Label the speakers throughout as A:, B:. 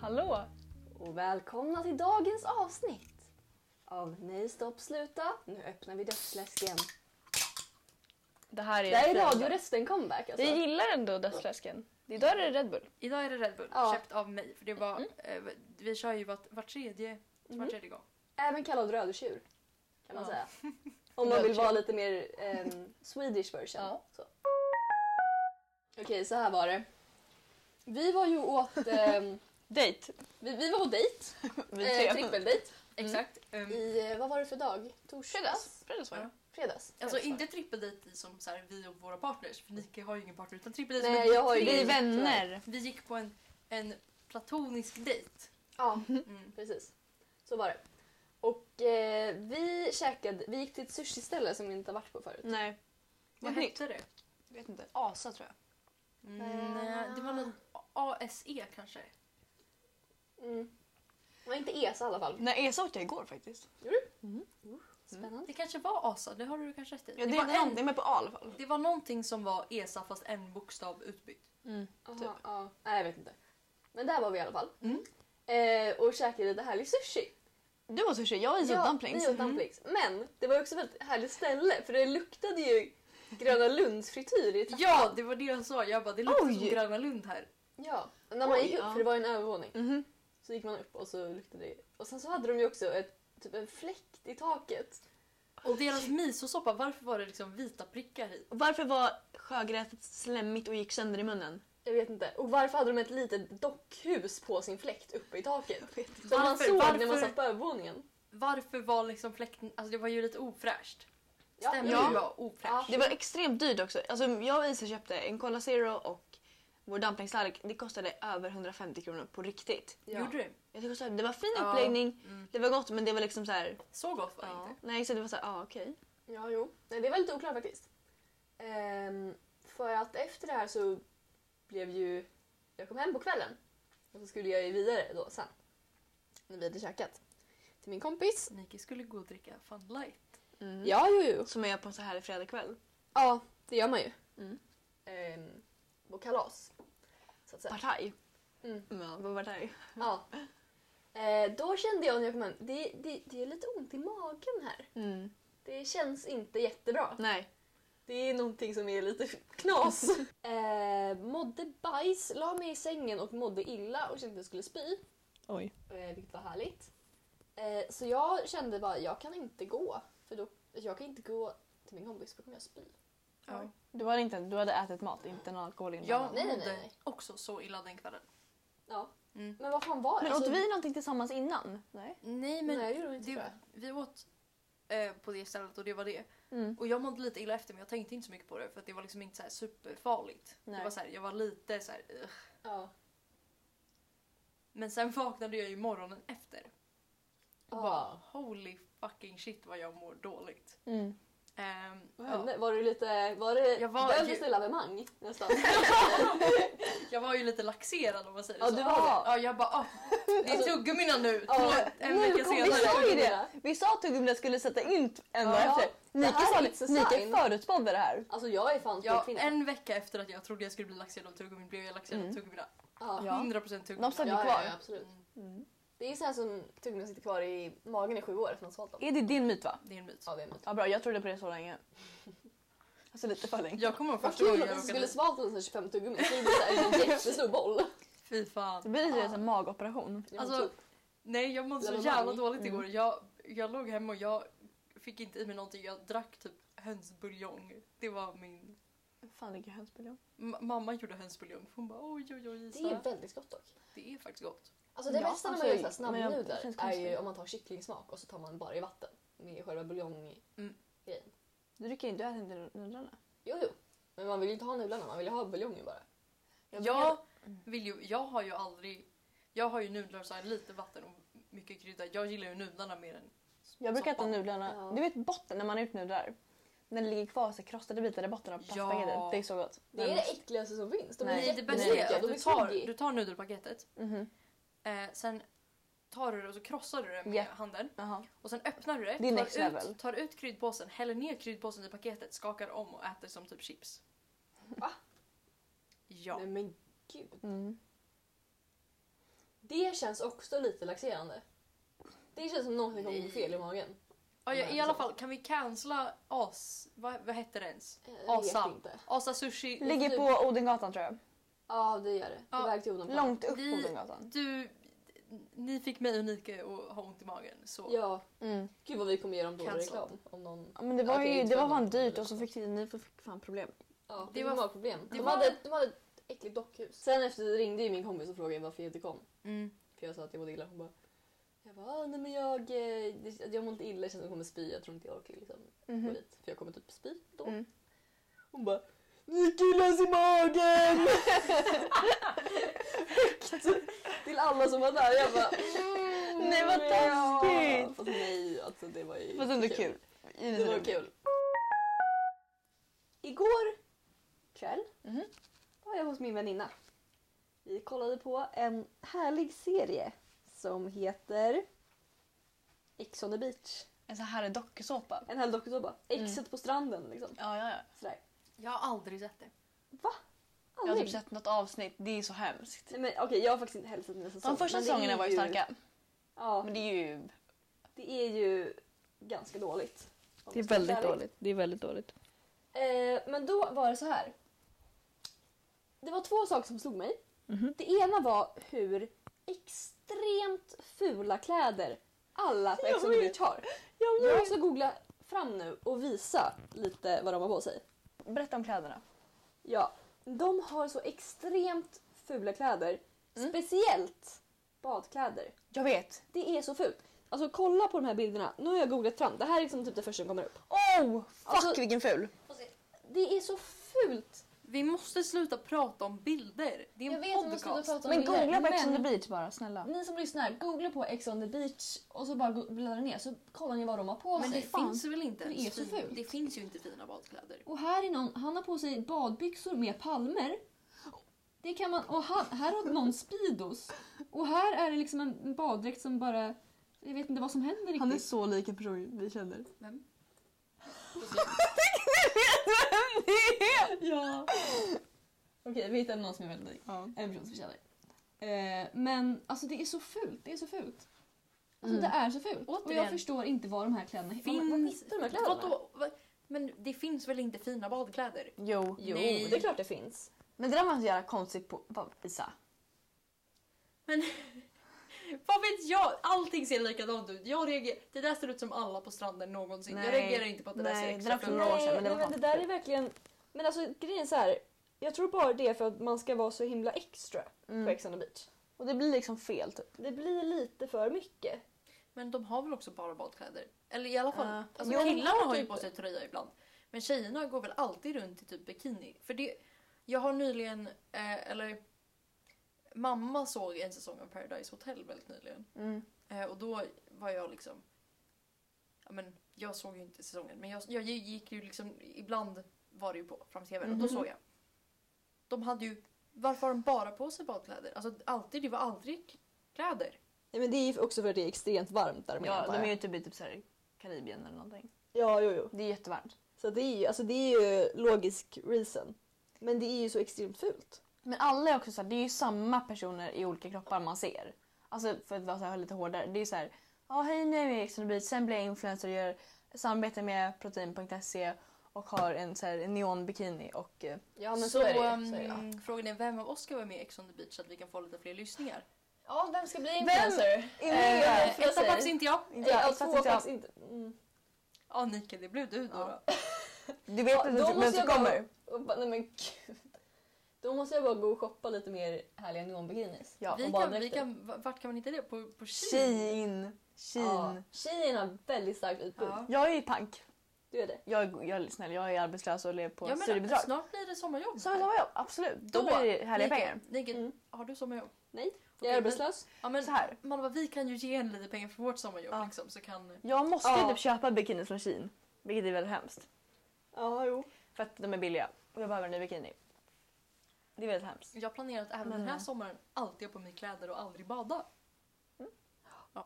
A: Hallå!
B: och välkomna till dagens avsnitt av Nej stopp sluta, nu öppnar vi dödsläsken.
A: Det här är...
B: Det här är radioresten comeback alltså.
A: Jag gillar ändå dödsläsken. Idag är det Red Bull.
C: Idag är det Red Bull,
B: Ja.
C: köpt av mig. För det var, eh, vi kör ju vart, var, tredje, var tredje gång.
B: Även kallad rödtjur kan man
A: Ja.
B: säga. Om man vill
A: Rödtjur.
B: vara lite mer ehm, Swedish version.
A: Ja.
B: Så. Okej, så här var det. Vi var ju åt... ehm,
A: Date.
B: vi, vi var på dejt,
A: Vi
B: eh, trippeldejt,
C: Exakt. ehm,
B: i, eh, vad var det för dag? Torsdags?
A: Fredags. Fredags var det.
B: Fredags.
C: alltså inte trippeldejt i som så här, vi och våra partners, för Nike har ju ingen partner. Utan trippeldejt
B: Nej,
C: som
B: jag har ju
C: vi,
B: ingen.
C: tre.
A: Vi är
B: är
A: vänner.
C: vi gick på en, en platonisk dejt.
B: Ja,
C: Mm.
B: precis. Så var det. Och eh, vi käkade, vi gick till ett sushiställe som vi inte har varit på förut.
A: Nej.
C: Vad
A: Vad
C: hette det?
A: Vet inte. Asa tror jag.
C: Mm, nej, det var någon ASE kanske.
B: Mm. Det var inte ESA i alla fall.
A: Nej, Esa åt jag igår faktiskt.
B: Spännande.
C: Det kanske var ASA, det har du kanske rätt i.
A: Ja, det,
C: var
A: är någon,
C: en,
A: det är med på A i alla fall.
C: det var någonting som var ESA fast en bokstav utbytt.
B: Aha,
A: Typ.
B: ja. Nej, jag vet inte. Men där var vi i alla fall.
C: Mm.
B: Eh, och käkade lite härlig sushi.
A: Du åt sushi, jag åt
B: Ja,
A: dumplings. Mm.
B: vi åt dumplings. Men det var ju också ett väldigt härligt ställe för det luktade ju Gröna Lunds frityr i trappan.
C: Ja, det var det jag sa. Jag bara, det luktar
A: Oj!
C: som Gröna Lund här.
B: Ja. Och när man
A: Oj,
B: gick upp,
A: ja.
B: för det var ju en övervåning,
A: Mhm.
B: så gick man upp och så luktade det. Och sen så hade de ju också ett, typ en fläkt i taket.
C: Och deras misosoppa, varför var det liksom vita prickar i?
A: Och Varför var sjögräset slemmigt och gick sönder i munnen?
B: Jag vet inte. Och varför hade de ett litet dockhus på sin fläkt uppe i taket? Som man
C: Varför,
B: såg när man
C: varför,
B: satt på övervåningen.
C: varför var liksom fläkten... Alltså det var ju lite ofräscht.
B: Ja,
C: Stämningen
A: ja.
C: var ofräsch.
A: Det var extremt dyrt också. Alltså, jag och Isa köpte en Cola Zero och vår dumplingstallrik. Det kostade över 150 kronor på riktigt.
B: Ja.
C: Gjorde du?
A: Jag tycker så här, det var fin
C: Ja.
A: uppläggning,
C: Mm.
A: det var gott men det var liksom så här.
C: Så gott var det
A: Ja.
C: inte.
A: Nej, så det var så här, ja okej.
B: Ja, jo. Nej, det var lite oklart faktiskt. Ehm, för att efter det här så blev ju... Jag kom hem på kvällen. Och så skulle jag ju vidare då sen. När vi hade käkat. Till min kompis.
C: Nike skulle gå och dricka Fun Light.
A: Mm.
B: Ja, jo, jo.
A: Som jag gör på en så här fredagkväll.
B: Ja, det gör man ju.
A: Mm.
B: Ehm, på kalas. Så att säga.
A: Partaj.
B: Mm.
A: Ja, på partaj.
B: Ja. Eh, då kände jag när jag kom hem, det, det, det är lite ont i magen här.
A: Mm.
B: Det känns inte jättebra.
A: Nej.
B: Det är någonting som är lite knas. eh, mådde bajs, la mig i sängen och mådde illa och kände att jag skulle spy.
A: Oj.
B: Eh, vilket var härligt. Eh, så jag kände bara, jag kan inte gå. För då, alltså jag kan inte gå till min kompis för då kommer jag spy.
C: Ja.
A: Du hade, inte, du hade ätit mat, inte någon alkohol innan.
C: Jag
B: nej, nej,
C: mådde
B: nej.
C: också så illa den kvällen.
B: Ja.
C: Mm.
B: Men vad fan var det?
A: Men
B: Alltså,
A: åt vi någonting tillsammans innan? Nej.
C: Nej men
B: Nej, det gjorde vi inte tror
C: det,
B: jag.
C: vi åt eh, på det stället och det var det.
A: Mm.
C: Och jag mådde lite illa efter men jag tänkte inte så mycket på det för att det var liksom inte så här superfarligt.
A: Nej.
C: Det var så här, jag var lite så här, "Ugh."
B: Ja.
C: Men sen vaknade jag ju morgonen efter. Och
B: Ah.
C: bara holy fucking shit vad jag mår dåligt.
A: Mm.
C: Ehm,
B: Vad
C: ja.
B: hände? Var du lite... Var det
C: Jag var
B: död
C: ju-
B: till lavemang nästan? Alltså,
C: Jag var ju lite laxerad om man säger
B: Ja,
C: så.
B: du var det. Alltså,
C: Ja, jag bara ah, det är tuggummina nu.
B: Ja,
C: Två, en
A: nu
C: vecka
A: kom- vi sa
C: senare.
A: ju det! Vi sa att tuggummin skulle sätta in en dag
B: Ja.
A: efter.
B: Det här är
A: Nike,
B: inte
A: sa,
B: så
A: Nike
B: sign.
A: förutspådde det här.
B: Alltså jag är fan
C: Ja,
B: kvinna.
C: en vecka efter att jag trodde jag skulle bli laxerad av tuggummin blev jag laxerad
A: Mm.
C: av tuggummina.
B: Ja.
A: Ja.
C: 100% tuggummin.
A: De sa-
B: Ja,
A: kvar.
B: ja, ja, absolut.
C: Mm.
B: Det är så här som tuggummin sitter kvar i magen i sju år efter man svalt dem.
A: Är det din myt va?
C: Det är en myt.
B: Ja, det är en myt.
A: Ja bra, jag trodde på det så länge. Alltså lite för länge.
C: Jag kommer ihåg
B: Vad
C: första
B: kul
C: gången
B: att
C: jag
B: du skulle
C: råkade...
B: svalt en sån här 25 tuggummin. Det skulle bli så här en jättestor boll.
C: Fy fan.
A: Det blir lite
B: Ja.
A: som en magoperation.
B: Ja,
C: Alltså,
B: typ.
C: Nej, jag mådde så
B: Lavemang.
C: jävla dåligt igår.
B: Mm.
C: Jag, jag låg hemma och jag fick inte i mig någonting. Jag drack typ hönsbuljong. Det var min...
A: Fan vilken hönsbuljong.
C: M- mamma gjorde hönsbuljong. Hon bara oj oj oj
B: det är ju
C: Isa.
B: väldigt gott dock.
C: Det är faktiskt gott.
B: Alltså det
A: Ja,
B: bästa när man
A: alltså,
B: gör så här
A: men jag- det
B: snabbnudlar
A: känns
B: är ju
A: konstigt.
B: om man tar kycklingsmak och så tar man bara i vatten med själva buljong...
A: Du dricker inte, du äter inte nudlarna.
B: Jo, jo. Men man vill ju inte ha nudlarna, man vill ju ha buljongen bara.
C: Jag,
A: Mm.
C: vill ju, jag har ju aldrig... Jag har ju nudlar och så här lite vatten och mycket krydda. Jag gillar ju nudlarna mer än
A: Jag brukar äta
C: soppan.
A: nudlarna,
B: Ja.
A: du vet botten när man har gjort nudlar? När det ligger kvar så krossade bitar i botten av plastpaketet.
C: Ja.
A: Det är så gott.
B: Det är det äckligaste som finns. De
A: Nej,
B: är
C: Nej, det bästa
B: jättemjuka,
C: är att
B: de är
C: du tar,
B: soggy.
C: du tar nudelpaketet.
A: Mhm.
C: Eh, sen tar du det och så krossar du det med
A: Ja.
C: handen.
A: Jaha.
C: Och sen öppnar du det,
A: Det är next
C: tar,
A: level.
C: ut, tar ut kryddpåsen, häller ner kryddpåsen i paketet, skakar om och äter som typ chips.
B: Va?
C: Ja.
B: Nej men gud.
A: Mm.
B: Det känns också lite laxerande. Det känns som någonting kommer gå fel i magen.
C: Ja, ja, I
B: Men
C: alla
B: så.
C: fall, kan vi cancella as... Vad, vad hette det ens?
B: Jag
C: Asa.
B: vet inte.
C: Asa Sushi.
B: Ligger
A: Ligger
B: typ-
A: på Odengatan tror jag.
B: Ja, det gör det. På
C: Ja,
B: väg till Odenplan.
A: Långt upp
C: Vi-
A: på Odengatan.
C: Du, ni fick mig och Nike att ha ont i magen. Så.
B: Ja,
A: Mm.
B: gud vad vi kommer ge dem dålig
C: Cancel.
B: reklam. Om någon...
A: Ja, men det var
B: Okej,
A: ju
B: inte
A: det var
B: för
A: fan
B: att de-
A: dyrt och så fick ni, ni fick fan problem.
B: ja,
C: Det
B: det
C: var-
B: var problem.
C: det
B: De,
C: var-
B: Hade, de hade ett äckligt dockhus. Sen efter det ringde ju min kompis och frågade varför jag inte kom.
C: Mm.
B: För jag sa att jag mådde illa. Hon bara... Jag bara, "Ah, nej men jag, eh, det- jag mår inte illa, jag känner att jag kommer spy. Jag tror inte jag orkar liksom gå
A: Mhm.
B: dit. För jag kommer typ spy då.
A: Mm.
B: Hon bara Ni killas i magen! Högt till alla som var där. Jag bara mm,
A: Nej, vad
B: ja.
A: taskigt.
B: Fast nej, alltså det var ju
A: Fast ändå kul.
B: Det var kul. Igår kväll
A: Mhm.
B: var jag hos min väninna. Vi kollade på en härlig serie som heter Ex on the beach.
A: En sån här dokusåpa.
B: En härlig dokusåpa.
A: Mm.
B: Exet på stranden liksom.
A: Ja, ja, ja.
B: Sådär.
C: Jag har aldrig sett det.
A: Jag har
B: Aldrig.
A: typ sett något avsnitt. Det är så hemskt.
B: Nej, men, okej, jag har faktiskt inte hälsat den här säsongen.
A: De första
B: men det är
A: säsongerna var ju starka.
B: Ja,
A: Men det är ju...
B: det är ju ganska dåligt. om jag ska vara ärlig.
A: Det är väldigt dåligt.
B: Eh, men då var det så här. Det var två saker som slog mig.
A: Mhm.
B: Det ena var hur extremt fula kläder alla på
A: Jag
B: Ex on the Beach
A: vet.
B: har.
A: Jag
B: Jag ska googla fram nu och visa lite vad de har på sig.
A: Berätta om kläderna.
B: Ja, de har så extremt fula kläder.
A: Mm.
B: Speciellt badkläder.
A: Jag vet.
B: Det är så fult. Alltså kolla på de här bilderna. Nu har jag googlat fram. Det här är liksom typ det första som kommer upp.
A: Oh! Fuck
B: Alltså-
A: vilken ful.
B: Det är så fult.
C: Vi måste sluta prata om bilder. Det är en podcast.
A: Men googla på Ex on the beach bara snälla.
B: Ni som lyssnar, googla på Ex on the beach och så bara go- bläddra ner så kollar ni vad de har på
C: Men det
B: sig.
A: fan.
C: finns väl inte
B: Det
C: ens
B: är så
C: fin-
B: fult.
C: Det finns ju inte fina badkläder.
B: Och här är någon, han har på sig badbyxor med palmer. Det kan man, och han, här har någon Speedos. Och här är det liksom en baddräkt som bara... Jag vet inte vad som händer riktigt.
A: så lik en person vi känner.
C: Vem?
B: Ja. Okej, vi hittade någon som är väldigt lik.
A: Ja.
B: En person som vi känner. Eh, men alltså det är så fult, det är så fult. Alltså
A: Mm.
B: det är så fult. Och
C: Återigen.
B: jag förstår inte var de här kläderna
C: Finns...
B: Var hittar de här kläderna?
C: Vadå? Va- Men det finns väl inte fina badkläder?
A: Jo.
B: Jo,
C: Nej.
B: det är klart det finns.
A: Men det där var en så jävla konstigt på, på Isa.
C: Vad vet jag? Allting ser likadant ut. Jag reagerar... Det där ser ut som alla på stranden någonsin.
A: Nej.
C: Jag reagerar inte på att det där
A: Nej,
C: ser
A: det där
C: extra
A: får
C: fult
A: några
C: ut.
A: år sedan, men det
B: nej,
A: var
B: men det
A: fan
B: där är
A: fult.
B: verkligen... Men alltså grejen är så här. Jag tror bara det är för att man ska vara så himla extra på Ex on the beach.
A: Mm. Och det blir liksom fel typ.
B: Det blir lite för mycket.
C: Men de har väl också bara badkläder? Eller i alla fall,
A: Ja.
C: alltså,
A: Jo, de
C: killarna
A: har
C: har ju
A: typ-
C: på sig tröja ibland. Men tjejerna går väl alltid runt i typ bikini. För det, jag har nyligen, eh, eller mamma såg en säsong av Paradise Hotel väldigt nyligen.
A: Mm.
C: Eh, och då var jag liksom, ja men jag såg ju inte säsongen men jag, jag gick ju liksom, ibland var det ju på fram-tvn och då
A: Mhm.
C: såg jag. De hade ju, varför har de bara på sig badkläder? Alltså alltid, det var aldrig kläder.
B: Nej, men det är ju också för att det är extremt varmt där
A: Ja, de är
B: är...
A: ju typ i typ så här Karibien eller någonting.
B: ja jo, jo.
A: Det är jättevarmt.
B: Så det är, ju, alltså, det är ju logisk reason. Men det är ju så extremt fult.
A: Men alla är också så här, det är ju samma personer i olika kroppar man ser. Alltså för att vara så här, lite hårdare. Det är så här, ja hej nu är jag med i Ex on the Beach, sen blir jag influencer och gör samarbete med protein.se E och har en, så här, en neonbikini och eh,
B: Ja
C: ehm, frågan är vem av oss ska vara med i Ex on the beach så att vi kan få lite fler lyssningar?
B: Ja, vem ska bli
A: influencer?
B: Eh,
C: Eh, Etta Pax inte jag.
A: Inte jag,
B: ja,
A: inte
B: två
A: jag.
B: faktiskt inte. Mm.
C: Ja Nike, det blev du då.
A: Ja.
C: då.
A: Du vet
B: Ja, då
A: inte vem
B: måste
A: som
B: jag bara-
A: kommer.
B: Och bara, nej men gud. Då måste jag bara gå och shoppa lite mer härliga neonbikinis.
A: Ja,
B: och
C: vi kan, vi
B: baddräkter.
C: kan, va- vart kan man hitta det? På, på Shein?
A: Shein. Shein.
B: Ja, Shein har väldigt starkt utbud.
C: Ja.
A: Jag är ju pank.
B: Du är det.
A: Jag, är- jag, är snäll, jag är arbetslös och lever på
C: Jag menar,
A: studiebidrag.
C: snart blir det sommarjobb.
A: Som som jag, absolut. Då,
C: Då,
A: blir det härliga
C: Nike,
A: pengar.
C: Nike,
B: Mm.
C: har du sommarjobb?
B: Jag är
C: Okej,
B: arbetslös.
C: Ja, men,
A: Så här.
C: Malva, vi kan ju ge en lite pengar för vårt sommarjobb
A: Ja.
C: liksom, så kan...
A: Jag måste ju
B: Ja.
A: typ köpa bikinis från Shein. Vilket är väldigt hemskt.
B: Ja, jo.
A: För att de är billiga. Och jag behöver en ny bikini. Det är väldigt hemskt.
C: Jag planerar att även
A: Men,
C: den här
A: eh.
C: sommaren alltid ha på mig kläder och aldrig bada.
B: Det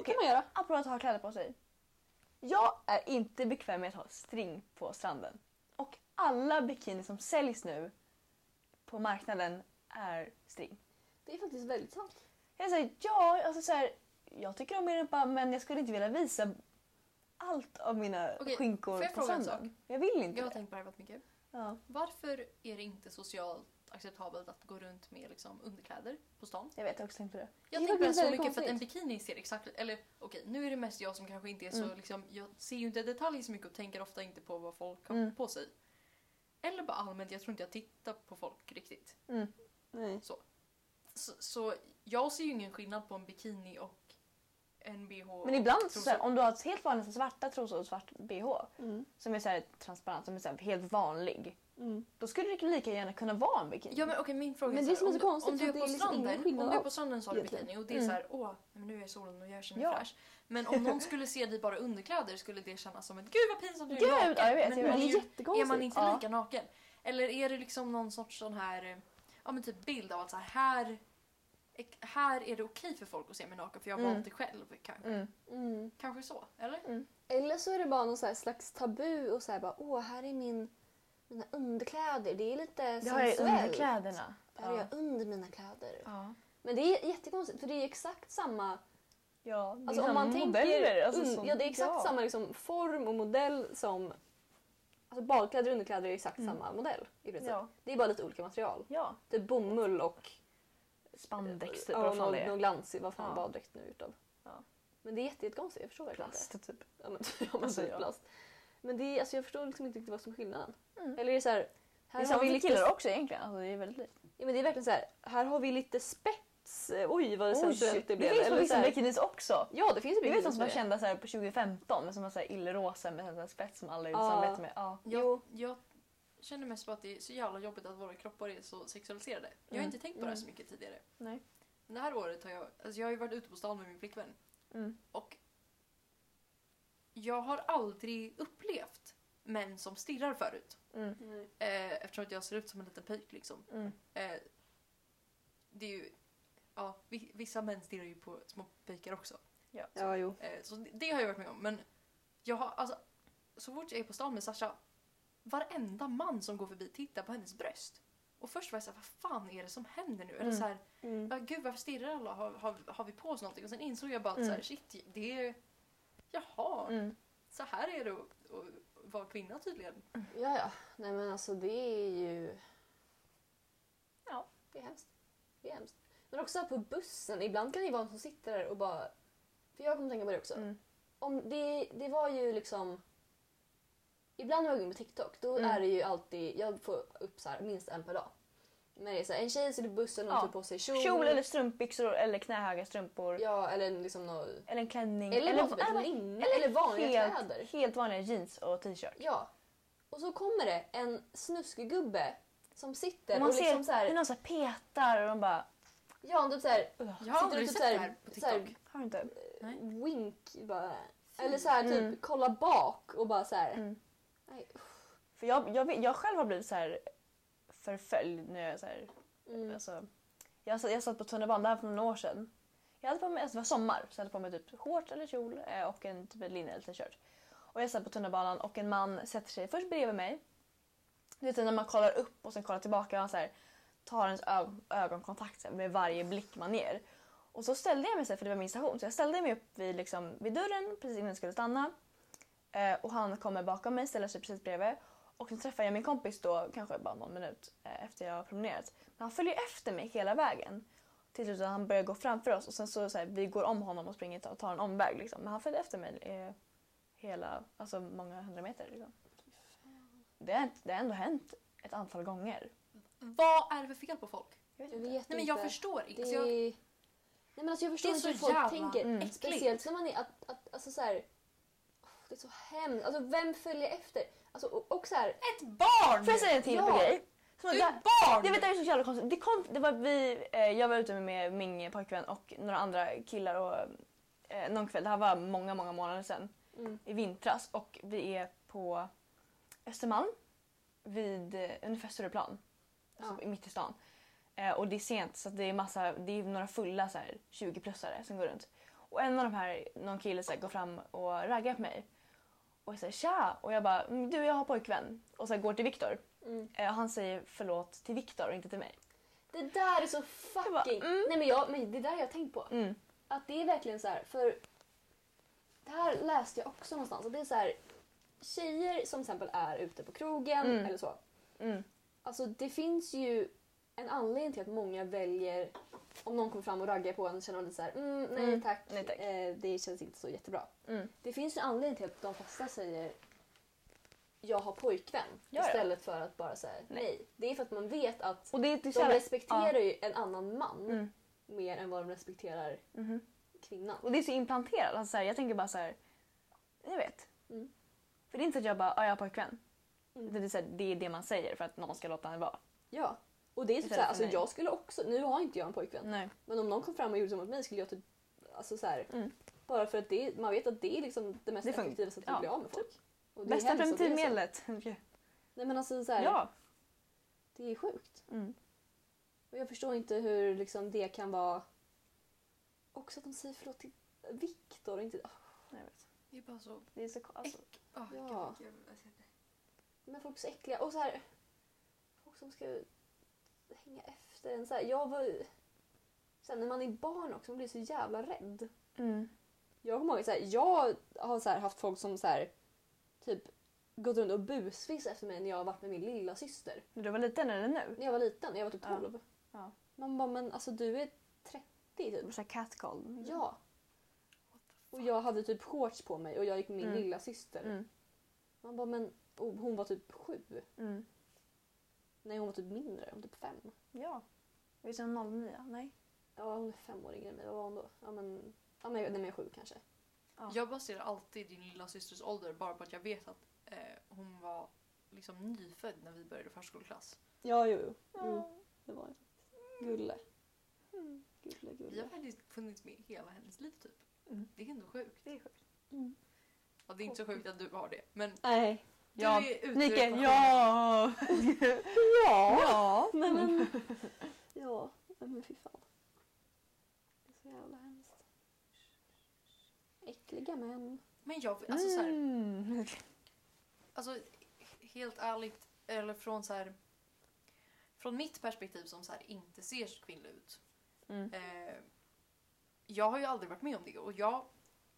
A: Okej.
B: kan man göra.
A: Apropå att ha kläder på sig. Jag är inte bekväm med att ha string på stranden. Och alla bikinis som säljs nu på marknaden är string.
B: Det är faktiskt väldigt sant.
A: Jag säger ja, alltså så här, jag tycker om min rumpa men jag skulle inte vilja visa allt av mina
C: Okej,
A: skinkor
C: får jag
A: på
C: fråga en
A: söndag. Jag vill inte
C: Jag har
A: det.
C: tänkt på det här väldigt mycket.
A: Ja,
C: Varför är det inte socialt acceptabelt att gå runt med liksom, underkläder på stan?
A: jag vet, jag har också tänkt på det.
C: Jag
A: Det är
C: tänker på det
A: faktiskt
C: så
A: väldigt
C: mycket för att en
A: konstigt.
C: bikini ser exakt... Eller okej, nu är det mest jag som kanske inte är så...
A: Mm.
C: Liksom, jag ser ju inte detaljer så mycket och tänker ofta inte på vad folk har
A: Mm.
C: på sig. Eller bara allmänt, jag tror inte jag tittar på folk riktigt.
A: Mm. Nej.
C: Så, så jag ser ju ingen skillnad på en bikini och en bh.
A: Men ibland,
C: Trosor.
A: så här, om du har helt vanliga svarta trosor och svart bh
B: Mm.
A: som är så här transparent, som är så här helt vanlig. Då skulle det lika gärna kunna vara en bikini.
C: Ja men okej min fråga
A: Men
C: är
A: det som
C: såhär,
A: är så
C: om-
A: konstigt
C: om
A: för
C: du är
A: att
C: på
A: det är liksom ingen
C: stranden,
A: skillnad
C: om du är
A: alls,
C: på stranden så har du bikini och det är
A: Mm.
C: såhär åh men nu är solen och gör sig
A: Ja.
C: fräsch. Men om någon skulle se dig bara i underkläder skulle det kännas som ett gud vad pinsamt du
A: Gud, ja,
C: naken."
A: jag vet.
C: Men
A: Jag vet.
C: man
A: Det
C: är
A: är
C: ju-
A: jättekonstigt.
C: Är man inte
A: ja.
C: lika naken? Eller är det liksom någon sorts sån här eh, ja, men typ bild av att så här, här, ek- här är det okej för folk att se mig naken för jag har
A: Mm.
C: valt det själv. Kanske.
A: Mm.
C: kanske så, eller?
B: Mm. Eller så är det bara någon så här slags tabu och så här bara åh här är min, mina underkläder. Det är lite
A: Det har jag i
B: sensuellt.
A: underkläderna.
B: Det har jag under mina kläder.
A: Ja.
B: Men det är jättekonstigt för det är exakt samma
A: Ja, det är
B: Alltså, om
A: samma
B: man tänker,
A: Mm. modeller, alltså,
B: un-
A: som-
B: ja, det är exakt
A: ja.
B: samma liksom, form och modell som... Alltså badkläder och underkläder är exakt
A: Mm.
B: samma modell i princip.
A: Ja.
B: Det är bara lite olika material.
A: ja.
B: Det är bomull och
A: Spandex typ,
B: ja,
A: vad
B: någon,
A: fan det
B: någon
A: är.
B: glans i vad fan
A: Ja.
B: baddräkten är utav.
A: Ja.
B: Men det är jätte- jättekonstigt, jag förstår verkligen inte.
A: Plast typ.
B: Ja, men, ja, men
A: Alltså,
B: typ
A: ja.
B: plast. Men det är, alltså, jag förstår liksom inte riktigt vad som är skillnaden.
A: Mm.
B: Eller är det så här,
A: Det
B: här
A: är
B: har
A: som
B: vi
A: vi
B: lite,
A: killar också egentligen. Alltså, det är väldigt likt.
B: ja, men det är verkligen så här, här har vi lite spets. Oj vad sensuellt Oh, det
A: det
B: blev.
A: finns på
B: Eller så
A: vissa
B: här,
A: bikinis också.
B: ja det finns ju
A: Du vet de
B: bikinis
A: som
B: med
A: var
B: det.
A: kända så här på 2015 men som var så här illrosa med en sån här spets som alla gjorde
B: Ja.
A: samarbete med. Ja.
C: Jag,
B: Jo.
C: jag känner mest på att det är så jävla jobbigt att våra kroppar är så sexualiserade. Jag har
A: Mm.
C: inte tänkt på det här
B: Mm.
C: så mycket tidigare.
A: Nej.
C: Men Det här året har jag, alltså jag har ju varit ute på stan med min flickvän
A: Mm.
C: och jag har aldrig upplevt män som stirrar förut.
A: Mm.
B: Nej.
C: Eh, eftersom att jag ser ut som en liten pöjk liksom.
A: Mm.
C: Eh, det är ju, ja, vi- vissa män stirrar ju på små pojkar också.
A: Ja.
B: Ja jo.
C: Eh, så det, det har jag varit med om. Men jag har, alltså, så fort jag är på stan med Sasha, varenda man som går förbi tittar på hennes bröst. Och först var jag såhär, vad fan är det som händer nu? Eller
A: Mm.
C: såhär, "Ah, gud varför stirrar alla? Har, har, har vi på oss någonting? Och sen insåg jag bara att
A: Mm.
C: såhär, shit, det är... Jaha,
A: Mm.
C: så här är det att- att vara kvinna tydligen.
B: Ja, ja. Nej men alltså det är ju...
A: Ja.
B: Det är hemskt. Det är hemskt. Men också här på bussen, ibland kan det ju vara någon som sitter där och bara... För jag kommer tänka på det också.
A: Mm.
B: Om det, det var ju liksom... Ibland när jag går in på TikTok då
A: Mm.
B: är det ju alltid, jag får upp så här, minst en per dag. Men det är så här, en tjej sitter på bussen och
A: Ja.
B: tar på sig kjol.
A: Kjol eller strumpbyxor eller knähöga strumpor.
B: Ja, eller liksom någon...
A: Eller en klänning.
B: Eller,
A: eller,
B: bara typ ett
A: eller-
B: linne. Eller vanliga
A: helt,
B: kläder.
A: Helt vanliga jeans och t-shirt.
B: Ja. Och så kommer det en snuskegubbe som sitter och,
A: Och man
B: liksom
A: ser
B: så
A: hur
B: här,
A: någon så här petar och de bara...
B: ja, han typ så här,
C: Jag har
B: Sitter
C: aldrig
B: du typ
C: sett det
B: såhär-
C: här på TikTok.
B: såhär-
A: Har du inte?
C: Nej.
B: wink bara. Eller så här typ
A: Mm.
B: kolla bak och bara så här.
A: Mm.
B: Nej, uff.
A: För jag, jag, vet- jag själv har blivit så här förföljd när jag är så här
B: Mm.
A: Alltså, jag, satt, jag satt på tunnelbanan, det här var för några år sedan. Jag hade på mig, alltså det var sommar, så jag hade på mig typ shorts eller kjol eh, och en typ en linne eller t-shirt. Och jag satt på tunnelbanan och en man sätter sig först bredvid mig. Du vet när man kollar upp och sen kollar tillbaka och han så här, tar ens ö- ögonkontakt så här, med varje blick man ger. Och så ställde jag mig, så här, för det var min station, så jag ställde mig upp vid, liksom, vid dörren precis innan jag skulle stanna. Eh, och han kommer bakom mig, ställer sig precis bredvid. Och sen träffar jag min kompis då, kanske bara någon minut eh, efter jag har promenerat. Men han följer efter mig hela vägen. Till slut så han börjar gå framför oss och sen så, så här, vi går om honom och springer och tar en omväg. Liksom. Men han följde efter mig eh, hela, alltså många hundra meter. Liksom. Det, har, hänt- det har ändå hänt ett antal gånger.
C: Vad är det för fel på folk?
A: Jag vet
B: Jag
A: inte.
B: vet
C: Nej men jag
B: inte.
C: förstår
B: Det
C: inte. Alltså, jag,
B: Nej men alltså jag förstår
C: Det är
B: inte
C: så
B: hur folk
C: jävla
B: tänker.
A: Mm.
C: äckligt.
B: Speciellt när man är att, att alltså så här. åh, det är så hemskt. Alltså vem följer efter? Alltså och, och så här.
C: Ett barn!
A: Får jag säga en till
B: Ja.
A: grej? Som
C: Du
A: där-
C: är ett barn!
A: Jag vet det är så jävla konstigt. Det kom, det var vi, eh, jag var ute med min pojkvän och några andra killar och, eh, någon kväll. Det här var många, många månader sedan.
B: Mm.
A: I vintras. Och vi är på Östermalm vid eh, ungefär Stureplan. Alltså mitt i stan. Eh, och det är sent så att det är massa, det är några fulla så här 20-plussare som går runt. Och en av de här, någon kille så här, går fram och raggar på mig. Och säger tja! Och jag bara, "Mm, du jag har pojkvän. Och så här, går till Viktor.
B: Mm.
A: Eh, och han säger förlåt till Viktor och inte till mig.
B: Det där är så fucking...
A: bara, mm.
B: Nej men, jag, men det där har jag tänkt på.
A: Mm.
B: Att det är verkligen så här, för det här läste jag också någonstans. Att det är så här, tjejer som till exempel är ute på krogen
A: Mm.
B: eller så.
A: Mm.
B: Alltså det finns ju en anledning till att många väljer, om någon kommer fram och raggar på en känner man lite så här, mm, nej,
A: Mm.
B: Tack,
A: Nej, tack.
B: Eh, det känns inte så jättebra.
A: Mm.
B: Det finns ju en anledning till att de flesta säger jag har pojkvän
A: Ja, ja.
B: istället för att bara säga nej.
A: Nej.
B: Det är för att man vet att
A: Och det är till
B: de
A: kärlek.
B: respekterar ju en annan man
A: Mm.
B: mer än vad de respekterar
A: Mhm.
B: kvinnan.
A: Och det är så implanterat. Alltså, så här, jag tänker bara så här, jag vet.
B: Mm.
A: För det är inte så att jag bara, ja jag har pojkvän.
B: Mm.
A: Utan Det, är så här, det är det man säger för att någon ska låta henne vara.
B: Ja. Och det är typ
A: Istället
B: såhär,
A: för
B: alltså
A: nej.
B: jag skulle också, nu har inte jag en pojkvän,
A: Nej.
B: men om någon kom fram och gjorde så mot mig skulle jag typ, alltså såhär,
A: Mm.
B: bara för att det, man vet att det är liksom det mest
A: Det funkar.
B: effektiva sättet
A: Ja, typ.
B: att bli av med folk. Och det är
A: Bästa
B: hemskt att det är så.
A: preventivmedlet.
B: Nej men alltså såhär,
A: Ja.
B: det är sjukt.
A: Mm.
B: Och jag förstår inte hur liksom det kan vara... Också att de säger förlåt till Viktor och inte... Ah,
A: Jag vet.
C: Det är bara så...
A: Det är så alltså,
C: Ah,
B: Ja.
C: gud, gud, alltså,
B: Men folk är så äckliga. Och så här... Folk som ska hänga efter en. Så här, jag var... Sen när man är barn också, man blir så jävla rädd.
A: mm.
B: Jag kommer ihåg så här, jag har så här, haft folk som så här, typ gått runt och busfis efter mig när jag har varit med min lilla syster.
A: När du var liten eller nu?
B: När jag var liten, när jag var typ
A: Ja.
B: 12.
A: Ja. Mm.
B: Man bara, men alltså du är 30 typ.
A: Så här catcall.
B: Ja. Och jag hade typ shorts på mig och jag gick med min
A: Mm.
B: lilla syster.
A: Mm.
B: Man bara, men och hon var typ sju.
A: Mm.
B: Nej, hon var typ mindre. Hon var typ fem.
A: Ja. Visst är hon 09? Nej.
B: Ja, hon är fem år yngre än mig. Vad var hon då? Ja, men, ja, men, nej, men jag är sju kanske.
A: Ja.
C: Jag baserar alltid din lilla systers ålder bara på att jag vet att eh, hon var liksom nyfödd när vi började förskoleklass.
B: Ja, jo, jo. Mm. Det var det. Gulle. Gulle,
C: Vi har
B: gulle.
C: faktiskt funnits med hela hennes liv typ.
A: Mm.
C: Det är ändå sjukt.
A: Det är sjukt. Mm.
C: Ja, det är inte så sjukt att du har det. Men
B: Nej.
A: Ja.
C: du är ute ur
A: Nike,
C: ekvationen.
A: ja!
B: Ja.
A: ja!
B: Nej, men. Ja. Nej, Men fy fan. Det är så jävla hemskt. Äckliga män.
C: Men jag, alltså så här,
A: Mm.
C: alltså helt ärligt, eller från så här, från mitt perspektiv som så här inte ser så kvinnlig ut.
A: Mm.
C: Eh, jag har ju aldrig varit med om det och jag,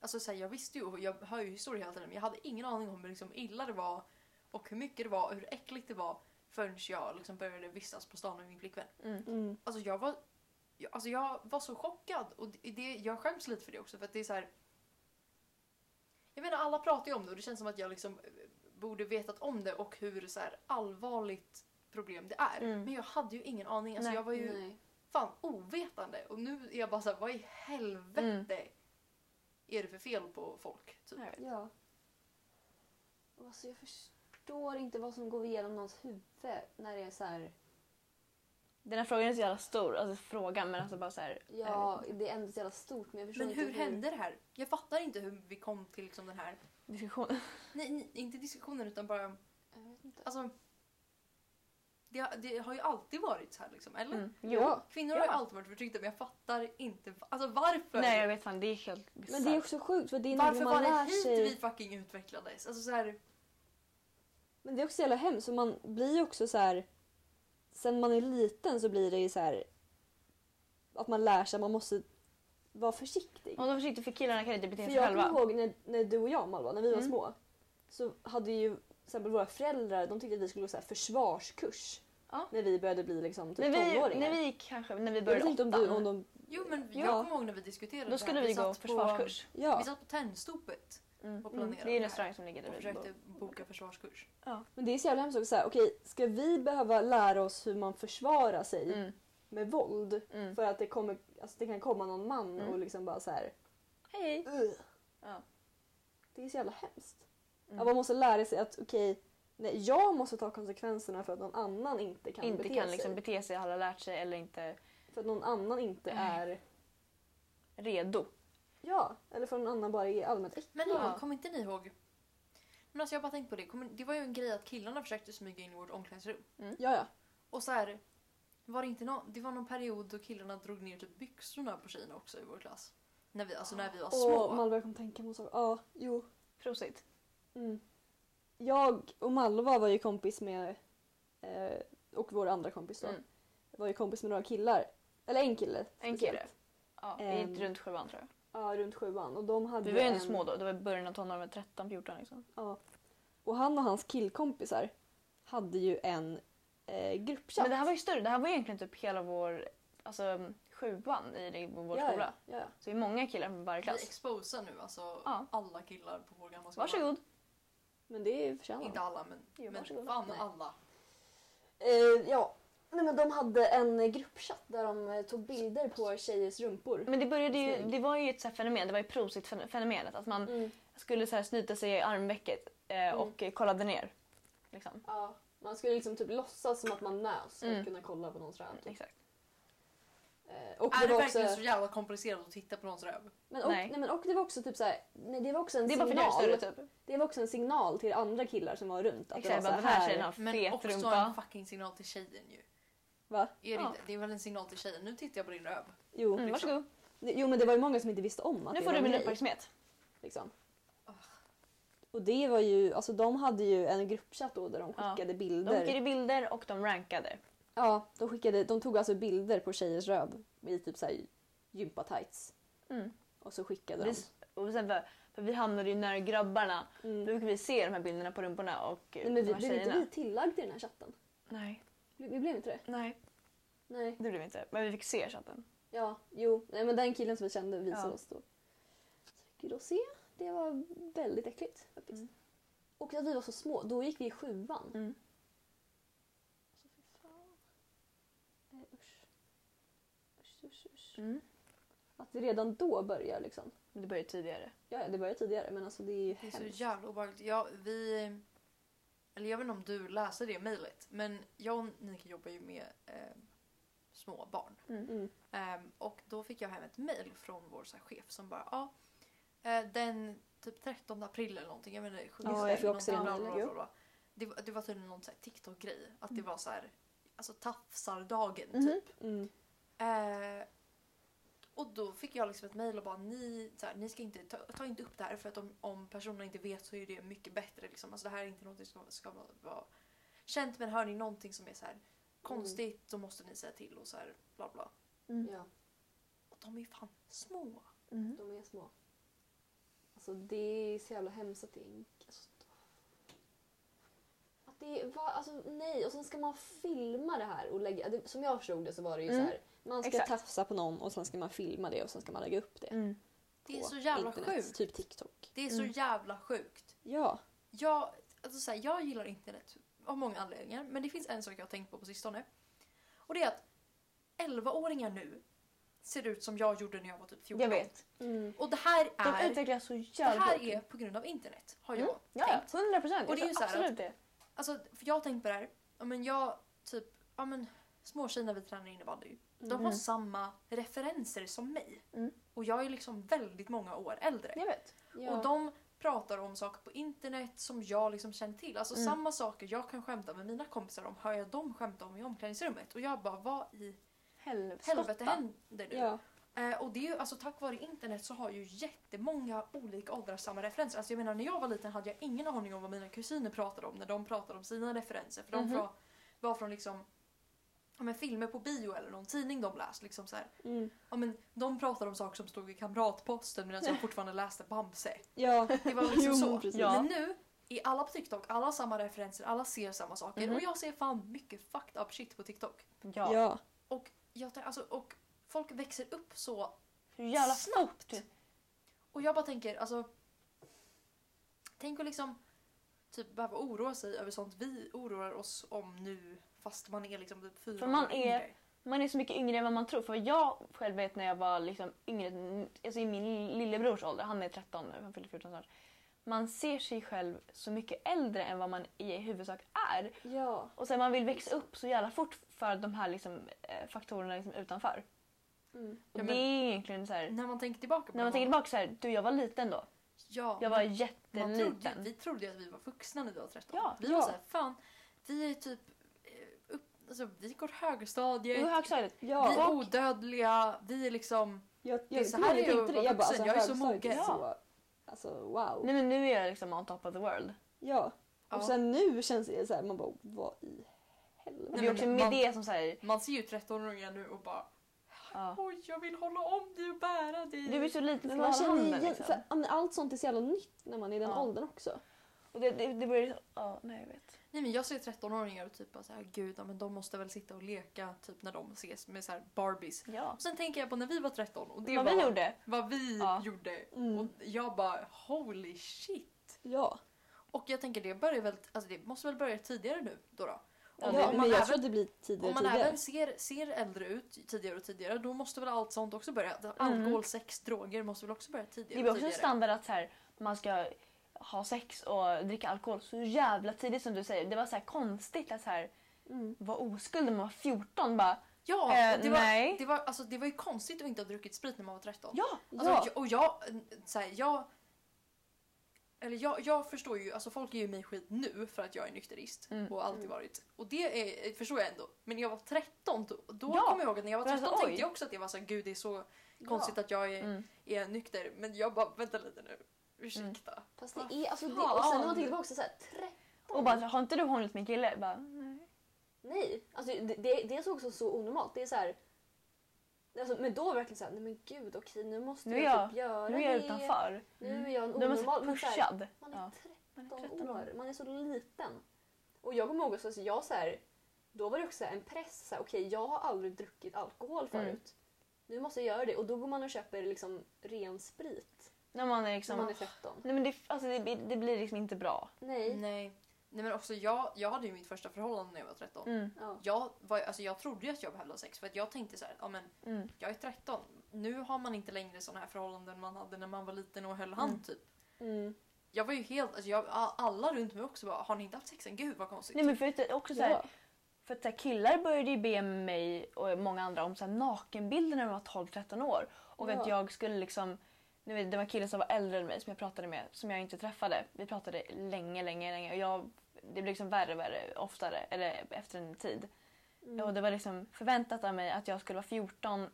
C: alltså så här, jag visste ju, och jag hör ju historier hela tiden, men jag hade ingen aning om hur liksom illa det var och hur mycket det var och hur äckligt det var förrän jag liksom började vistas på stan med min flickvän.
A: Mm.
B: Mm.
C: Alltså jag var, jag, alltså jag var så chockad och det- det, jag skäms lite för det också för att det är så här. Jag menar alla pratar ju om det och det känns som att jag liksom eh, borde vetat om det och hur så här allvarligt problem det är.
A: Mm.
C: Men jag hade ju ingen aning. Alltså
A: Nej.
C: jag var ju
B: Nej.
C: fan ovetande och nu är jag bara så här, vad i helvete är det för fel på folk? Typ.
A: Mm. Nej.
B: Ja. Och Alltså jag förstår inte vad som går igenom någons huvud när det är så här.
A: Den här frågan är så jävla stor, alltså frågan men alltså bara så här.
B: Ja, det är ändå så jävla stort men jag förstår
C: Men
B: inte
C: hur hände det här? Jag fattar inte hur vi kom till liksom den här,
A: eh, Diskussion.
C: nej, nej inte diskussionen utan bara
B: Jag vet inte.
C: Alltså, det, har- det har ju alltid varit så här liksom, eller?
A: Mm. Jo.
B: Ja,
C: Kvinnor har ju
A: Ja.
C: alltid varit förtryckta men jag fattar inte va- alltså, varför.
A: Nej jag vet fan, det är helt
B: men
A: bisarrt.
B: det är också sjukt för det är något
C: varför var
B: man
C: det
B: lär
C: hit
B: sig.
C: vi fucking utvecklades? Alltså, så här,
B: Men det är också så jävla hemskt så man blir ju också så här. Sen man är liten så blir det ju så här. Att man lär sig att man måste vara försiktig.
A: Om de var försiktiga för killarna kan inte bete
B: För
A: sig
B: jag kommer
A: själva.
B: ihåg när, när du och jag Malva, när vi var
A: Mm.
B: små. Så hade ju till exempel våra föräldrar, de tyckte att vi skulle gå så här försvarskurs.
A: Ja.
B: När vi började bli liksom typ
A: När vi,
B: tonåringar.
A: när vi kanske, när vi
B: jag
A: började
B: vet inte om du, om
A: åttan.
B: de...
C: jo men
B: Ja.
C: jag kommer ihåg när vi diskuterade
A: Då
C: det
A: skulle
C: här.
A: vi gå
C: satt
A: försvarskurs.
C: På,
B: Ja,
C: vi satt på Tennstopet
A: Mm.
B: Mm.
C: och planerade
A: Det är
C: det
A: en
C: här.
A: restaurang som ligger där
C: Och
A: vi
C: försökte
A: bor.
C: boka försvarskurs.
B: men det är så jävla hemskt också. så här, Okej, ska vi behöva lära oss hur man försvarar sig
A: Mm.
B: med våld?
A: Mm.
B: För att det, kommer, alltså det kan komma någon man
A: Mm.
B: och liksom bara så här.
A: Hej!
B: "Ugh."
A: Ja.
B: Det är så jävla hemskt.
A: Mm.
B: Att man måste lära sig att okej, nej, jag måste ta konsekvenserna för att någon annan inte kan
A: inte
B: bete
A: kan
B: sig.
A: liksom bete sig, har lärt sig eller inte
B: För att någon annan inte
A: Nej.
B: är...
A: redo.
B: Ja, eller för någon annan bara är allmänt äcklig.
C: Men
A: Ja.
C: hallå, kommer inte ni ihåg? Men alltså jag har bara tänkt på det. Kommer, det var ju en grej att killarna försökte smyga in i vårt omklädningsrum.
B: Ja, ja.
C: Och så här, var det, inte någon, det var någon period då killarna drog ner typ byxorna på tjejerna också i vår klass. När vi, alltså när vi var små.
B: Och Malva kom tänka på en sak. Ja, jo.
A: Prosit.
B: Mm. Jag och Malva var ju kompis med, eh, och vår andra kompis då.
A: Mm.
B: var ju kompis med några killar. Eller en kille.
A: En kille. Ja, vi gick
B: Ehm.
A: runt sjuan tror jag.
B: Ja, runt sjuan. Och ehm. de hade
A: Vi var ju
B: en-
A: ändå små då, det var i början av tonåren, 13-14 liksom.
B: Ja. Och han och hans killkompisar hade ju en eh, gruppchatt.
A: Men det här var ju större, det här var egentligen typ hela vår alltså, sjuan i det- vår
B: ja,
A: skola.
B: Ja, ja.
A: Så vi är många killar från varje
C: Vi
A: klass.
C: exposar nu alltså
A: Ja.
C: alla killar på vår gamla skola.
A: Varsågod.
B: Men det förtjänar de.
C: Inte alla men,
A: Jo,
C: men
A: varsågod.
C: fan
B: Nej.
C: alla.
B: Eh, ja. Nej, men de hade en gruppchatt där de eh, tog bilder på tjejers rumpor.
A: Men det började ju,
B: Snygg.
A: det var ju ett så här fenomen, det var ju prosit-fenomenet. Att man
B: Mm.
A: skulle så här snyta sig i armvecket eh, och eh, kollade ner. Liksom.
D: Ja, man skulle liksom typ låtsas som att man nös för
A: Mm.
D: att kunna kolla på någons röv.
A: Mm,
D: Typ.
A: Exakt.
B: typ,
D: Eh, Och
C: är
D: det
C: det
D: var
C: verkligen
D: också...
C: så jävla komplicerat att titta på någons röv?
B: Men och,
A: Nej.
B: nej. men och det var också typ så här, nej det var också en
A: Det är bara för
B: signal.
A: deras större typ.
B: det var också en signal till andra killar som var runt att
A: Exakt,
B: det var
A: bara,
B: så
A: den här tjejen
B: här.
A: har
C: Men
A: fet
C: också en
A: rumpa.
C: fucking signal till tjejen ju.
B: Va?
C: Är det,
A: Ja.
C: inte? det är väl en signal till tjejen, nu tittar jag på din röv.
B: Jo,
A: Mm,
B: liksom.
A: varsågod.
B: jo men det var ju många som inte visste om att
A: Nu
B: det
A: får
B: var
A: du
B: en
A: min
B: grej,
A: uppmärksamhet.
B: liksom.
C: Ugh.
B: Och det var ju, alltså de hade ju en gruppchatt då där de
A: Ja.
B: skickade
A: De
B: bilder.
A: skickade bilder och de rankade.
B: Ja, de, skickade, de tog alltså bilder på tjejers röv i typ såhär gympatights.
A: Mm.
B: Och så skickade
A: Vi, och sen bara, för vi hamnade ju nära grabbarna.
B: de. Mm.
A: Då brukar vi se de här bilderna på rumporna och
B: Nej, men
A: de
B: vi
A: här
B: blev inte
A: tjejerna.
B: vi tillagda i den här chatten?
A: Nej,
B: Vi, vi blev inte det?
A: nej,
B: Nej.
A: det blev vi inte. Men vi fick se chatten.
B: Ja, jo. Nej, men den killen som vi kände visade
A: Ja.
B: oss då. Så fick vi då se. Det var väldigt äckligt faktiskt.
A: Mm.
B: Och att vi var så små. Då gick vi i sjuan.
A: Mm.
B: Alltså, fy fan. Nej, Eh, usch. Usch, usch, usch.
A: Mm.
B: Att vi redan då börjar liksom.
A: Men det började tidigare.
B: Ja, ja, det började tidigare men alltså det är ju
C: Det är så
B: hemskt.
C: jävla obehagligt. Ja, vi... Eller jag vet inte om du läser det mejlet. Men jag och Nika jobbar ju med eh, små barn.
B: Mm.
C: Ehm, och då fick jag hem ett mejl från vår så här, chef som bara ja, eh, den typ 13 april eller någonting. Jag vet inte, 17
B: Ja, jag
C: april,
B: fick också
C: någonting,
B: det
C: bla, bla,
B: mejlet,
C: bla, bla. det, var- det var tydligen någon så här TikTok-grej. Att det var så här, alltså tafsardagen
A: Mhm.
C: typ.
B: Mm.
C: Eh, och då fick jag liksom ett mejl och bara ni, så här, ni ska inte ta, ta inte upp det här för att om, om personerna inte vet så är det mycket bättre. Liksom. Alltså, det här är inte något som ska vara- vara känt men hör ni någonting som är så här konstigt så måste ni säga till och så här bla bla. Mm.
D: Ja,
C: Och de är ju fan små. Mm.
D: de är små. Alltså det är så jävla hemskt att det är... Alltså, att det är va, alltså, nej, och sen ska man filma det här och lägga... Det, som jag förstod det så var det ju
A: Mm.
D: så här...
B: Man ska
A: Exakt.
B: tafsa på någon och sen ska man filma det och sen ska man lägga upp det.
A: Mm.
C: Det är
B: på
C: så jävla
B: internet,
C: sjukt.
B: Typ TikTok.
C: Det är så
A: Mm.
C: jävla sjukt.
B: Ja.
C: Jag, alltså så här, jag gillar internet av många anledningar, men det finns en sak jag har tänkt på på sistone. Och det är att 11-åringar nu ser ut som jag gjorde när jag var typ 14.
A: Jag vet.
B: Mm,
C: Och det här
A: De
C: är,
A: utvecklas så
C: det
A: jävla
C: här
A: fort.
C: är på grund av internet, har jag
A: Mm. Ja,
C: tänkt.
A: ja, 100 procent.
C: Och det är ju så här
A: absolut
C: att-
A: det.
C: Alltså, för jag har tänkt på det här, ja, men jag typ, ja men småtjejerna vi tränar innebandy, de har
A: Mm.
C: samma referenser som mig.
A: Mm.
C: Och jag är liksom väldigt många år äldre.
A: Jag vet.
B: Ja.
C: Och de pratar om saker på internet som jag liksom känner till. Alltså
A: Mm.
C: samma saker jag kan skämta med mina kompisar om hör jag dem skämta om i omklädningsrummet. Och jag bara, vad i helvete
A: Helskotta.
C: händer nu?
B: ja.
C: Eh, och det är ju, alltså tack vare internet så har ju jättemånga olika åldrar samma referenser. Alltså jag menar när jag var liten hade jag ingen aning om vad mina kusiner pratade om när de pratade om sina referenser. För de
A: Mhm.
C: fra, var från liksom ja, men filmer på bio eller någon tidning de läst. Liksom så här.
B: Mm.
C: Ja, men de pratade om saker som stod i Kamratposten medan jag fortfarande läste Bamse.
B: Ja.
C: Det var liksom
B: Jo,
C: så.
B: precis.
A: Ja.
C: Men nu är alla på TikTok, alla har samma referenser, alla ser samma saker.
A: Mhm.
C: Och jag ser fan mycket fucked up shit på TikTok.
A: Ja.
B: Ja.
C: Och, jag, tänker- alltså, och folk växer upp så.
A: Hur jävla
C: Snabbt.
A: snabbt.
C: Och jag bara tänker, alltså. Tänk att liksom typ behöva oroa sig över sånt vi oroar oss om nu fast man är liksom typ fyra
A: För man
C: år
A: är-
C: yngre.
A: Man är så mycket yngre än vad man tror. För vad jag själv vet när jag var liksom yngre, alltså i min lillebrors ålder, han är 13 nu, han fyller 14 snart. Man ser sig själv så mycket äldre än vad man i huvudsak är.
B: Ja.
A: Och sen man vill växa upp så jävla fort för de här liksom, eh, faktorerna liksom utanför.
B: Mm.
A: Och
C: Ja, men-
A: det är egentligen så här,
C: När man tänker tillbaka på
A: när
C: det,
A: man tänker tillbaka så här, du jag var liten då.
C: ja,
A: Jag var
C: Man trodde, ju-
A: jätteliten.
C: vi trodde ju att vi var vuxna när vi var 13.
A: Ja,
C: vi
B: ja.
C: var såhär, fan, vi är typ eh, upp, alltså, vi går högstadiet,
A: I högstadiet.
B: Ja.
C: vi är odödliga, vi är liksom...
B: Jag, jag,
C: Det är så
B: jag
C: här jag
B: tänkte det.
C: var
B: Jag bara,
C: vuxen,
B: alltså,
C: jag är så
B: högstadiet
C: mogen.
B: så- Alltså wow.
A: Nej men nu är jag liksom on top of the world.
B: Ja.
C: Ja.
B: Och sen nu känns det så här, man bara vad i
A: Det
E: helvete.
A: är
C: men
A: också
C: man-
A: med det som säger
C: Man ser ju 13-åringar nu och bara
A: ja.
C: oj jag vill hålla om dig och bära dig.
A: Du är så liten
E: Men
A: från
E: man
A: alla
E: känner
A: handen
E: igen,
A: liksom.
E: för, ja, men allt sånt är så jävla nytt när man är i den
A: Ja.
E: åldern också.
A: Och det, det, det börjar ja, nej jag vet.
C: Nej men jag ser 13-åringar och typ bara så här, gud ja, men de måste väl sitta och leka typ när de ses med så här Barbies.
A: Ja.
C: Och sen tänker jag på när vi var 13 och det
A: Vad
C: var
A: vi gjorde.
C: vad vi
A: Ja.
C: gjorde.
E: Mm.
C: Och jag bara holy shit.
E: Ja,
C: Och jag tänker det börjar väl, alltså det måste väl börja tidigare nu då. då.
E: ja,
A: men alltså
C: om
E: men
C: man
E: jag
C: även-
E: tror att det blir tidigare
C: Om
E: och
C: man
E: tidigare.
C: även ser, ser äldre ut tidigare och tidigare då måste väl allt sånt också börja. Alkohol, sex, droger måste väl också börja
A: Mm. Det
C: tidigare
A: var
C: och
A: också en
C: tidigare.
A: standard att så här, man ska ha sex och dricka alkohol så jävla tidigt som du säger. Det var så här konstigt att så här,
E: Mm.
A: vara oskuld när man var 14. Bara,
C: Ja,
A: Eh,
C: det, var,
A: nej.
C: Det, var, alltså, det var ju konstigt att inte ha druckit sprit när man var 13.
A: ja,
C: Alltså,
E: Ja.
C: jag- Och jag, så här, jag... Eller jag, jag förstår ju, alltså folk ger ju mig skit nu för att jag är nykterist
A: Mm.
C: och alltid varit. Och det är, förstår jag ändå. Men när jag var 13 då, då
A: Ja.
C: kommer jag ihåg att när jag var
A: Men
C: 13
A: alltså,
C: tänkte
A: oj.
C: jag också att jag var så här, gud det är så konstigt att jag är,
A: Mm.
C: är nykter. Men jag bara, vänta lite nu, ursäkta.
E: Fast det är alltså det,
C: Fan.
E: och sen när man tänker tillbaka så här, tre,
A: Och bara, har inte du hånglat med en kille? Bara, nej.
E: nej. Alltså det, det, det är så också så onormalt. Det är så här, alltså, men då var det verkligen så här, nej men gud okej nu måste
A: Nu
E: nu
A: är
E: jag
A: jag-
E: typ göra
A: Nu är jag
E: det.
A: utanför.
E: Nu är jag en
A: Nu är man så
E: onormal.
A: här
E: Men så här,
A: pushad.
E: man är
A: Ja.
E: 13
A: Man är
E: 13
A: 13 år.
E: år. Man är så liten. Och jag kommer ihåg också, alltså, jag så här, då var det också så här en press. så här, Okej, jag har aldrig druckit alkohol
A: Mm.
E: förut. Nu måste jag göra det. Och då går man och köper liksom ren sprit
A: När man är liksom...
E: när man är 13.
A: Nej, men det, alltså, det, blir- det blir liksom inte bra.
E: Nej.
C: Nej. Nej men också jag, jag hade ju mitt första förhållande när jag var 13.
A: Mm.
E: Ja.
C: Jag, var, alltså jag trodde ju att jag behövde ha sex för att jag tänkte så här, ja men
A: Mm.
C: jag är 13. Nu har man inte längre sådana här förhållanden man hade när man var liten och höll hand typ.
E: Mm.
C: Jag var ju helt, alltså jag, a- alla runt mig också bara, har ni inte haft sex än? Gud vad konstigt.
A: Nej, men för, att- också så här,
E: Ja.
A: För att så här, killar började ju be mig och många andra om så här, nakenbilder när de var 12-13 år. Och
E: Ja.
A: att jag skulle liksom... Nu vet, det var en kille som var äldre än mig som jag pratade med som jag inte träffade. Vi pratade länge, länge, länge. Och jag, det blev liksom värre och värre oftare, eller efter en tid.
E: Mm.
A: Och det var liksom förväntat av mig att jag skulle vara 14,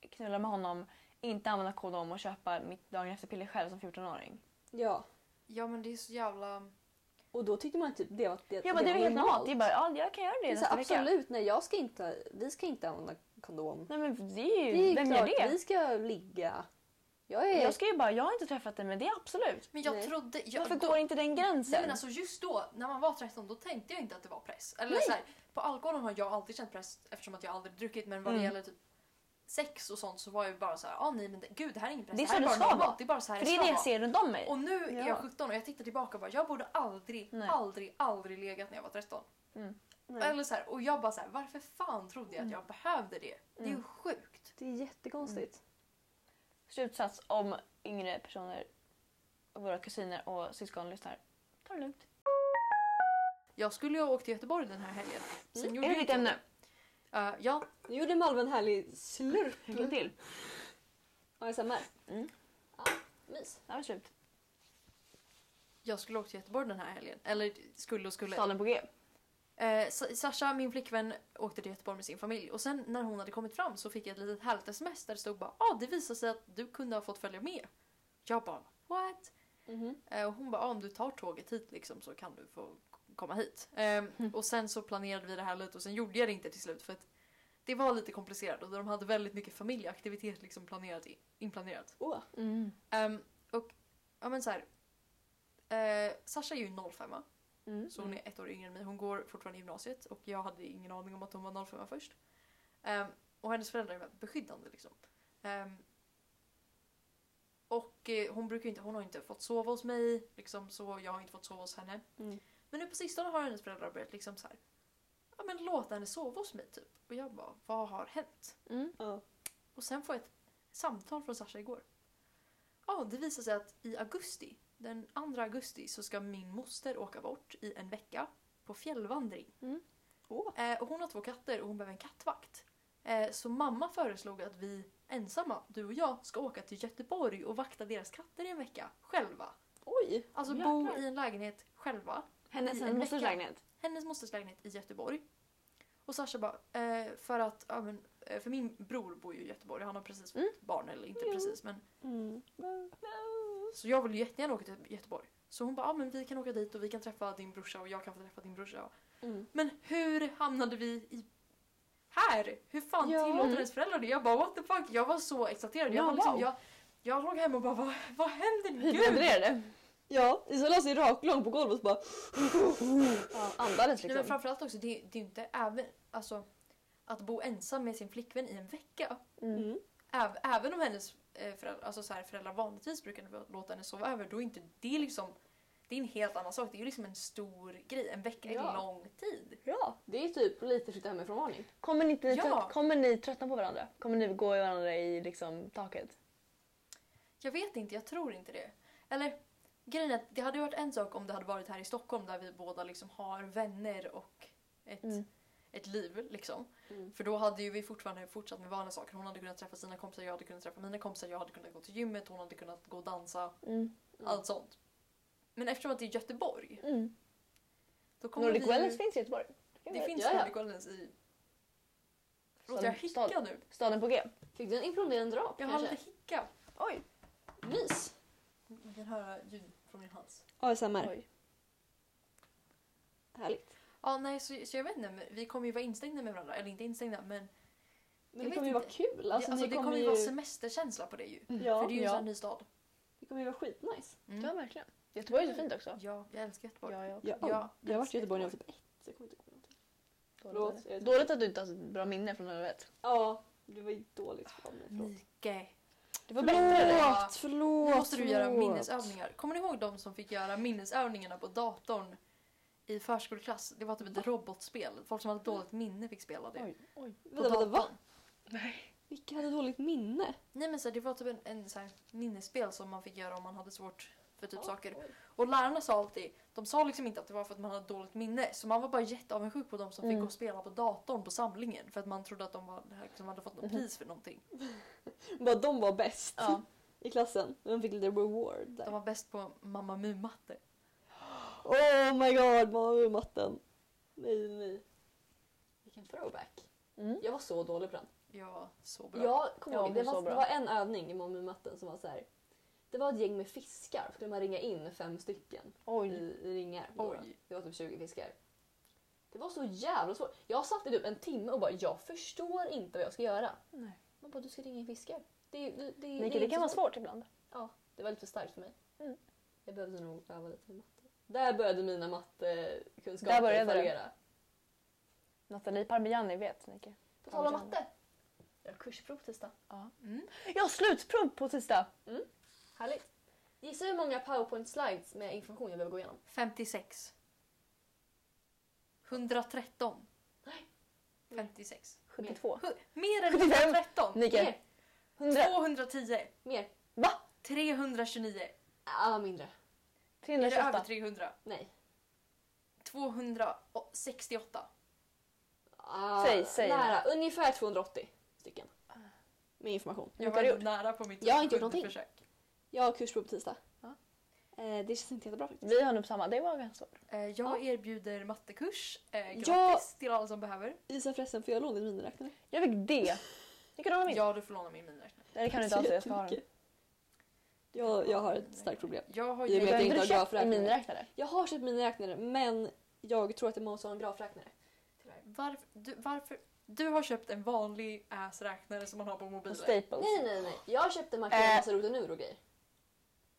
A: knulla med honom, inte använda kondom och köpa mitt dagen efter-piller själv som 14-åring.
E: ja.
C: Ja men det är så jävla...
E: Och då tyckte man typ det var det,
A: Jag bara, det är ju helt normalt. Det är
E: normalt.
A: bara, ja, jag kan göra det,
E: Det är så
A: nästa
E: här,
A: vecka.
E: absolut, nej jag ska inte, vi ska inte använda kondom.
A: Nej men det är ju,
E: Det är ju
A: vem
E: klart,
A: gör det?
E: vi ska ligga. Jag är...
A: Jag ska ju bara, jag har inte träffat dig men det är absolut.
C: Men jag
E: Nej.
C: trodde... Jag,
A: Varför
C: då-
A: går inte den
C: Nej
A: gränsen?
C: men alltså just då, när man var 13, då tänkte jag inte att det var press. Eller
E: Nej.
C: så här, på alkoholen har jag alltid känt press eftersom att jag aldrig druckit men vad det
A: Mm.
C: gäller typ sex och sånt så var jag ju bara så här, ah, nej men det, gud det här är ingen press.
A: Det är så
C: här
A: det
C: bara
A: ska
C: normalt.
A: vara.
C: Det är bara så här
A: För det är det jag
C: vara."
A: ser runt om mig.
C: Och nu är
A: Ja.
C: jag 17 och jag tittar tillbaka och bara, jag borde aldrig,
A: Nej.
C: aldrig, aldrig legat när jag var 13.
E: Nej.
C: Eller så här, och jag bara så här, varför fan trodde
A: Mm.
C: jag att jag behövde det? Det är ju sjukt.
E: Mm. Det är jättekonstigt.
A: Slutsats om yngre personer, våra kusiner och syskon lyssnar. Ta det lugnt.
C: Jag skulle ju ha åkt till Göteborg den här helgen. Sen
A: Mm. Är
C: gjorde
A: det
C: jag
A: ditt
C: inte
A: ämne?
C: det. Eh, ja,
E: Nu gjorde Malva en härlig slurp
A: Lycka till.
E: ASMR.
A: Mm.
E: Ja, mys.
A: Det här var slut.
C: jag skulle åkt till Göteborg den här helgen. Eller skulle och skulle.
A: Salen på G.
C: Eh, Sa- Sasha, min flickvän, åkte till Göteborg med sin familj och sen när hon hade kommit fram så fick jag ett litet härligt sms där det stod bara ah, det visar sig att du kunde ha fått följa med. Jag bara what?
E: Mhm.
C: Eh, Och hon bara, ah, om du tar tåget hit liksom, så kan du få k- komma hit. Ehm, Och sen så planerade vi det här lite och sen gjorde jag det inte till slut för att det var lite komplicerat och de hade väldigt mycket familjeaktivitet liksom planerat, i- inplanerat.
E: Åh.
C: Ehm, och ja men så här. Eh, Sasha är ju 05
E: Mm.
C: så hon är ett år yngre än mig. Hon går fortfarande i gymnasiet och jag hade ingen aning om att hon var 05 först. Ehm, och hennes föräldrar är väldigt beskyddande liksom. Ehm, och eh, hon brukar ju inte, hon har inte fått sova hos mig liksom så jag har inte fått sova hos henne.
E: Mm.
C: Men nu på sistone har hennes föräldrar börjat liksom så här. Ja men låta henne sova hos mig typ. Och jag bara, vad har hänt?
B: Mm.
E: Ja.
C: Och sen får jag ett samtal från Sasha igår. Ja, det visar sig att i augusti, den 2 augusti, så ska min moster åka bort i en vecka på fjällvandring.
E: Åh.
C: Eh, och hon har två katter och hon behöver en kattvakt. Eh, så mamma föreslog att vi ensamma, du och jag, ska åka till Göteborg och vakta deras katter i en vecka själva.
E: Oj.
C: Alltså
A: Jäklar.
C: bo i en lägenhet själva
A: Hennes
C: I en
A: mosters
C: vecka.
A: lägenhet.
C: hennes mosters lägenhet i Göteborg. Och Sasha bara, eh, för att, ja, men, eh, för min bror bor ju i Göteborg, han har precis
A: Mm.
C: fått barn, eller inte precis men. Så jag vill ju jättegärna åka till Göteborg. Så hon bara, ja men vi kan åka dit och vi kan träffa din brorsa och jag kan få träffa din brorsa.
E: Mm.
C: Men hur hamnade vi i här? Hur fan
A: Ja.
C: tillåter ens föräldrar det? Jag bara what the fuck? Jag var så exalterad. Jag,
A: Ja,
C: var liksom,
A: wow.
C: jag, jag låg hemma och bara vad, vad händer? Gud!
A: Hyperventilerade.
E: Ja, Isola sig raklång på golvet och bara...
A: Ja, andades
C: Nej, men
A: liksom.
C: framförallt också, det, det är ju inte även, alltså, att bo ensam med sin flickvän i en vecka.
E: Mm.
C: Äv, även om hennes eh, föräldrar, alltså så här, föräldrar vanligtvis brukar låta henne sova över, då är inte det liksom... Det är en helt annan sak. Det är ju liksom en stor grej. En vecka är
B: Ja.
C: lång tid.
E: Ja.
B: Det är typ lite flytta hemifrån-varning.
A: Kommer ni, inte,
C: Ja.
A: trött, kommer ni tröttna på varandra? Kommer ni gå i varandra i liksom, taket?
C: Jag vet inte, jag tror inte det. Eller grejen är att det hade varit en sak om det hade varit här i Stockholm där vi båda liksom har vänner och ett,
A: Mm.
C: ett liv. Liksom.
B: Mm.
C: För då hade ju vi fortfarande fortsatt med vanliga saker. Hon hade kunnat träffa sina kompisar, jag hade kunnat träffa mina kompisar, jag hade kunnat gå till gymmet, hon hade kunnat gå och dansa.
A: Mm.
B: Mm.
C: Allt sånt. Men eftersom att det är Göteborg
A: Mm.
C: då kommer
A: Nordic
C: vi...
A: Wellness finns i Göteborg.
C: Det finns
B: Ja, ja.
C: Nordic Wellness i... Förlåt,
A: Som
C: jag hickar
A: stad.
C: nu.
A: Staden på G.
B: Fick du en imploderande drap
C: Jag har
B: kanske?
C: lite hicka.
A: Oj!
B: Mys!
C: Ni kan höra ljud från min hals.
E: ASMR.
A: Oj.
E: Härligt.
C: Ja, nej, så, så jag vet inte. men Vi kommer ju vara instängda med varandra. Eller inte instängda, men...
B: Men
C: Jag
B: det
C: vet
B: kommer ju
C: inte.
B: vara kul.
C: Alltså,
B: Alltså,
C: alltså,
B: ni
C: det kommer ju vara semesterkänsla på det ju.
E: Ja,
C: För det är ju en
A: ja.
C: sån här ny stad.
B: det kommer ju vara skitnice.
C: Mm.
A: Mm. Ja, verkligen. Göteborg är så fint också.
C: Ja, jag älskar Göteborg.
A: Ja, jag
E: Ja.
A: också.
C: Ja,
E: Jag har varit i Göteborg när jag
C: Göteborg.
E: var typ ett. Så jag kommer inte ihåg någonting.
A: Dåligt,
B: Förlåt, jag vet
A: Dåligt att du inte har så bra minne från Ölvet.
E: Ja, det var ju dåligt för mig. Förlåt.
C: Mike.
A: Det var bättre det.
E: Förlåt, förlåt.
C: Nu måste du göra
E: förlåt.
C: minnesövningar. Kommer ni ihåg de som fick göra minnesövningarna på datorn i förskoleklass? Det var typ ett robotspel. Folk som hade dåligt minne fick spela det.
A: Oj, oj.
C: På
E: Vänta, vänta,
C: datorn.
E: va? Vilka hade dåligt minne?
C: Nej men så här, det var typ en, en så här, minnesspel som man fick göra om man hade svårt för typ
B: Ja,
C: saker.
B: oj.
C: Och lärarna sa alltid, de sa liksom inte att det var för att man hade dåligt minne. Så man var bara jätteavundsjuk på de som fick
A: Mm.
C: gå och spela på datorn på samlingen. För att man trodde att de var, liksom, hade fått något
A: Mhm.
C: pris för någonting.
E: Bara de var bäst
C: Ja,
E: i klassen. De fick lite reward där.
C: de var bäst på Mamma Mu-matte.
E: Oh my god, mamma med matten. Nej, nej.
B: Vilken throwback.
A: Mm.
B: Jag var så dålig på den.
C: Jag var så bra.
B: Jag kommer
A: Ja,
B: ihåg,
A: det
B: det
A: är så
B: var,
A: bra.
B: det var en övning i Månmumatten som var så här. Det var ett gäng med fiskar. Skulle man ringa in fem stycken i,
A: Oj.
B: i ringar. på
C: Oj.
B: dörren. Det var typ 20 fiskar. Det var så jävla svårt. Jag satt i typ en timme och bara jag förstår inte vad jag ska göra.
A: Nej.
B: Man bara du ska ringa in fiskar. Det, det, det,
A: Nej,
B: är
A: det
B: inte
A: kan
B: så
A: vara svårt ibland.
B: Det var lite för starkt för mig.
A: Mm.
B: Jag behövde nog öva lite med matte. Där började mina mattekunskaper
A: Där började det.
B: fallera.
A: Nathalie Parmigiani vet, Nicky.
B: På tal om
A: Parmesan.
B: matte. Jag har kursprov tisdag.
A: Ja.
C: Mm.
A: Jag har slutprov på tisdag!
B: Härligt. Gissa hur många powerpoint slides med information jag behöver gå igenom.
C: 56. 113.
B: Nej.
C: 56.
A: 72.
C: Hu- Mer än
A: 75.
C: 113!
A: Nicky.
B: Mer.
A: 100.
C: 210.
B: Mer.
C: 329.
B: Ah, mindre.
C: Är det över
A: 328.
C: 300?
B: Nej.
C: 268.
B: Ah,
A: Säg, säg. Ah.
B: Nära. Ungefär 280 stycken. Med information.
C: Jag
A: mycket har du
C: var
A: gjort?
C: nära på mitt
B: Jag har inte gjort
C: sjunde
B: någonting.
C: försök.
E: Jag har kursprov på tisdag.
A: Ja.
E: Eh, det känns inte jättebra faktiskt.
A: Vi har nog samma. Det var ganska svårt.
C: Eh, Jag erbjuder mattekurs eh, gratis
E: Ja.
C: till alla som behöver.
E: Isa förresten, får jag låna din miniräknare?
A: Jag fick D. Ni kan ha min.
C: Ja, du får låna min miniräknare.
A: Nej, det kan du inte alls.
B: Alltså,
A: Jag ska ha den.
E: Jättemycket. Jag, jag har ett starkt problem.
C: Jag har
E: I och
C: ju...
E: med-
A: Jag har
E: inte
A: inte
E: ha
A: köpt i
E: grafräknare.
A: miniräknare.
E: Jag har köpt miniräknare men jag tror att det måste ha en grafräknare. Tyvärr.
C: Varför, du, varför... Du har köpt en vanlig ass-räknare som man har på
A: På
C: mobilen.
A: Staples.
B: Nej, nej, nej. Jag köpte
A: Eh.
B: markeringsmassa rotenur och grejer.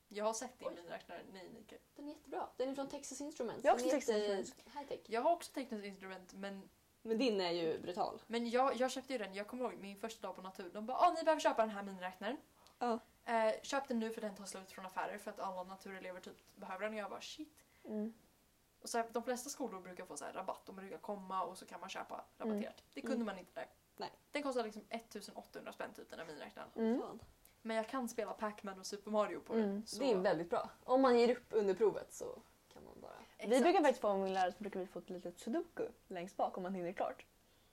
C: Jag har sett din
B: Oj.
C: miniräknare. Nej, Nike.
B: Den är jättebra. Den är från Texas Instruments.
A: Jag har också
B: Den är
A: Texas
B: jätte-
A: Instruments.
B: High tech.
C: Jag har också tekniskt instrument men,
E: Men din är ju brutal.
C: men jag, jag köpte ju den, jag kommer ihåg min första dag på natur. De bara ah, ni behöver köpa den här miniräknaren.
E: Ja.
C: Eh, köp den nu för den tar slut från affärer för att alla naturelever typ behöver den. Och jag bara shit.
A: Mm.
C: Och så här, de flesta skolor brukar få så här, rabatt, de brukar komma och så kan man köpa rabatterat.
B: Mm.
C: Det kunde man inte där.
E: Nej.
C: Den kostar liksom 1800 spänn typ den här miniräknaren.
A: Mm.
E: Fan.
C: Men jag kan spela Pac-Man och Super Mario på
A: Mm.
C: den. Så,
B: Det är väldigt bra. Om man ger upp under provet så kan man bara...
A: Vi
C: Exakt.
A: brukar faktiskt få, om min lärare så brukar vi få ett litet sudoku längst bak om man hinner klart.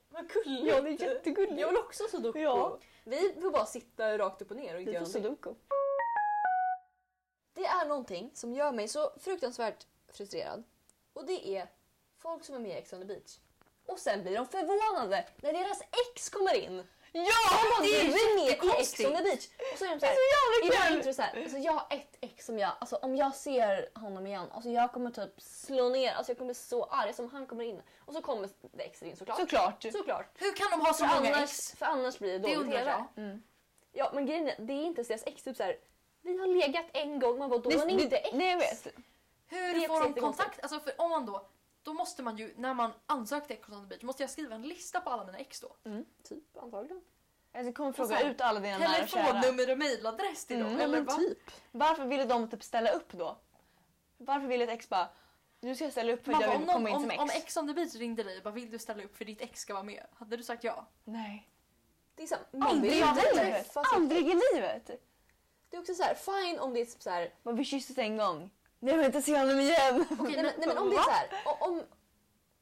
B: Vad gulligt!
A: Ja, det är jättegulligt.
B: Jag vill också sudoku.
A: Ja.
B: Vi får bara sitta rakt upp och ner och inte
A: Vi
B: göra
A: får
B: någonting.
A: sudoku.
B: Det är någonting som gör mig så fruktansvärt frustrerad. Och det är folk som är med i Ex on the beach. Och sen blir de förvånade när deras ex kommer in.
A: Ja!
B: Det
C: är
B: är ner till Ex
C: jättekonstigt.
B: on the beach. Och så är de så här, Ibland är det så här, alltså jag har ett ex som jag, alltså om jag ser honom igen, alltså jag kommer typ slå ner, alltså jag kommer bli så arg som han kommer in. Och så kommer det exet in såklart.
A: Såklart.
B: Såklart.
C: Hur kan de ha så
B: För
C: många
B: annars,
C: ex?
B: för annars blir det
C: Det
B: dåligt
C: undrar jag.
B: TV. Ja men grejen är, det är inte ens deras ex. Typ så här, vi har legat en gång, man bara då var ni inte ex.
A: Nej jag vet.
C: Hur
B: Det är
C: får de
B: jättekonstigt.
C: kontakt? Alltså för om man då, då måste man ju, när man ansöker till Ex on the beach, måste jag skriva en lista på alla mina ex då?
B: Typ antagligen.
A: Alltså, kommer fråga
C: sen-
A: ut alla dina nära och kära.
C: Telefonnummer och mailadress till dem?
A: Mm,
C: eller va?
F: typ.
A: Varför ville de typ ställa upp då? Varför ville ett ex bara du ska ställa upp för att
C: Man
A: jag
C: bara,
A: vill
C: om,
A: komma
C: någon, om,
A: in som ex?
C: om Ex on the beach ringde dig och bara vill du ställa upp för ditt ex ska vara med? Hade du sagt
B: Mm,
C: ja?
A: Nej.
B: Det är, så här, man
A: Aldrig
B: vill
A: i
B: inte
A: livet!
B: träffa sitt
A: Aldrig i livet!
B: Det är också så här, fine om det är typ så här,
A: Men vi kysstes en gång. Nej jag vill inte se honom igen!
C: Okej,
B: nej, men, nej men om det är så här, o- om...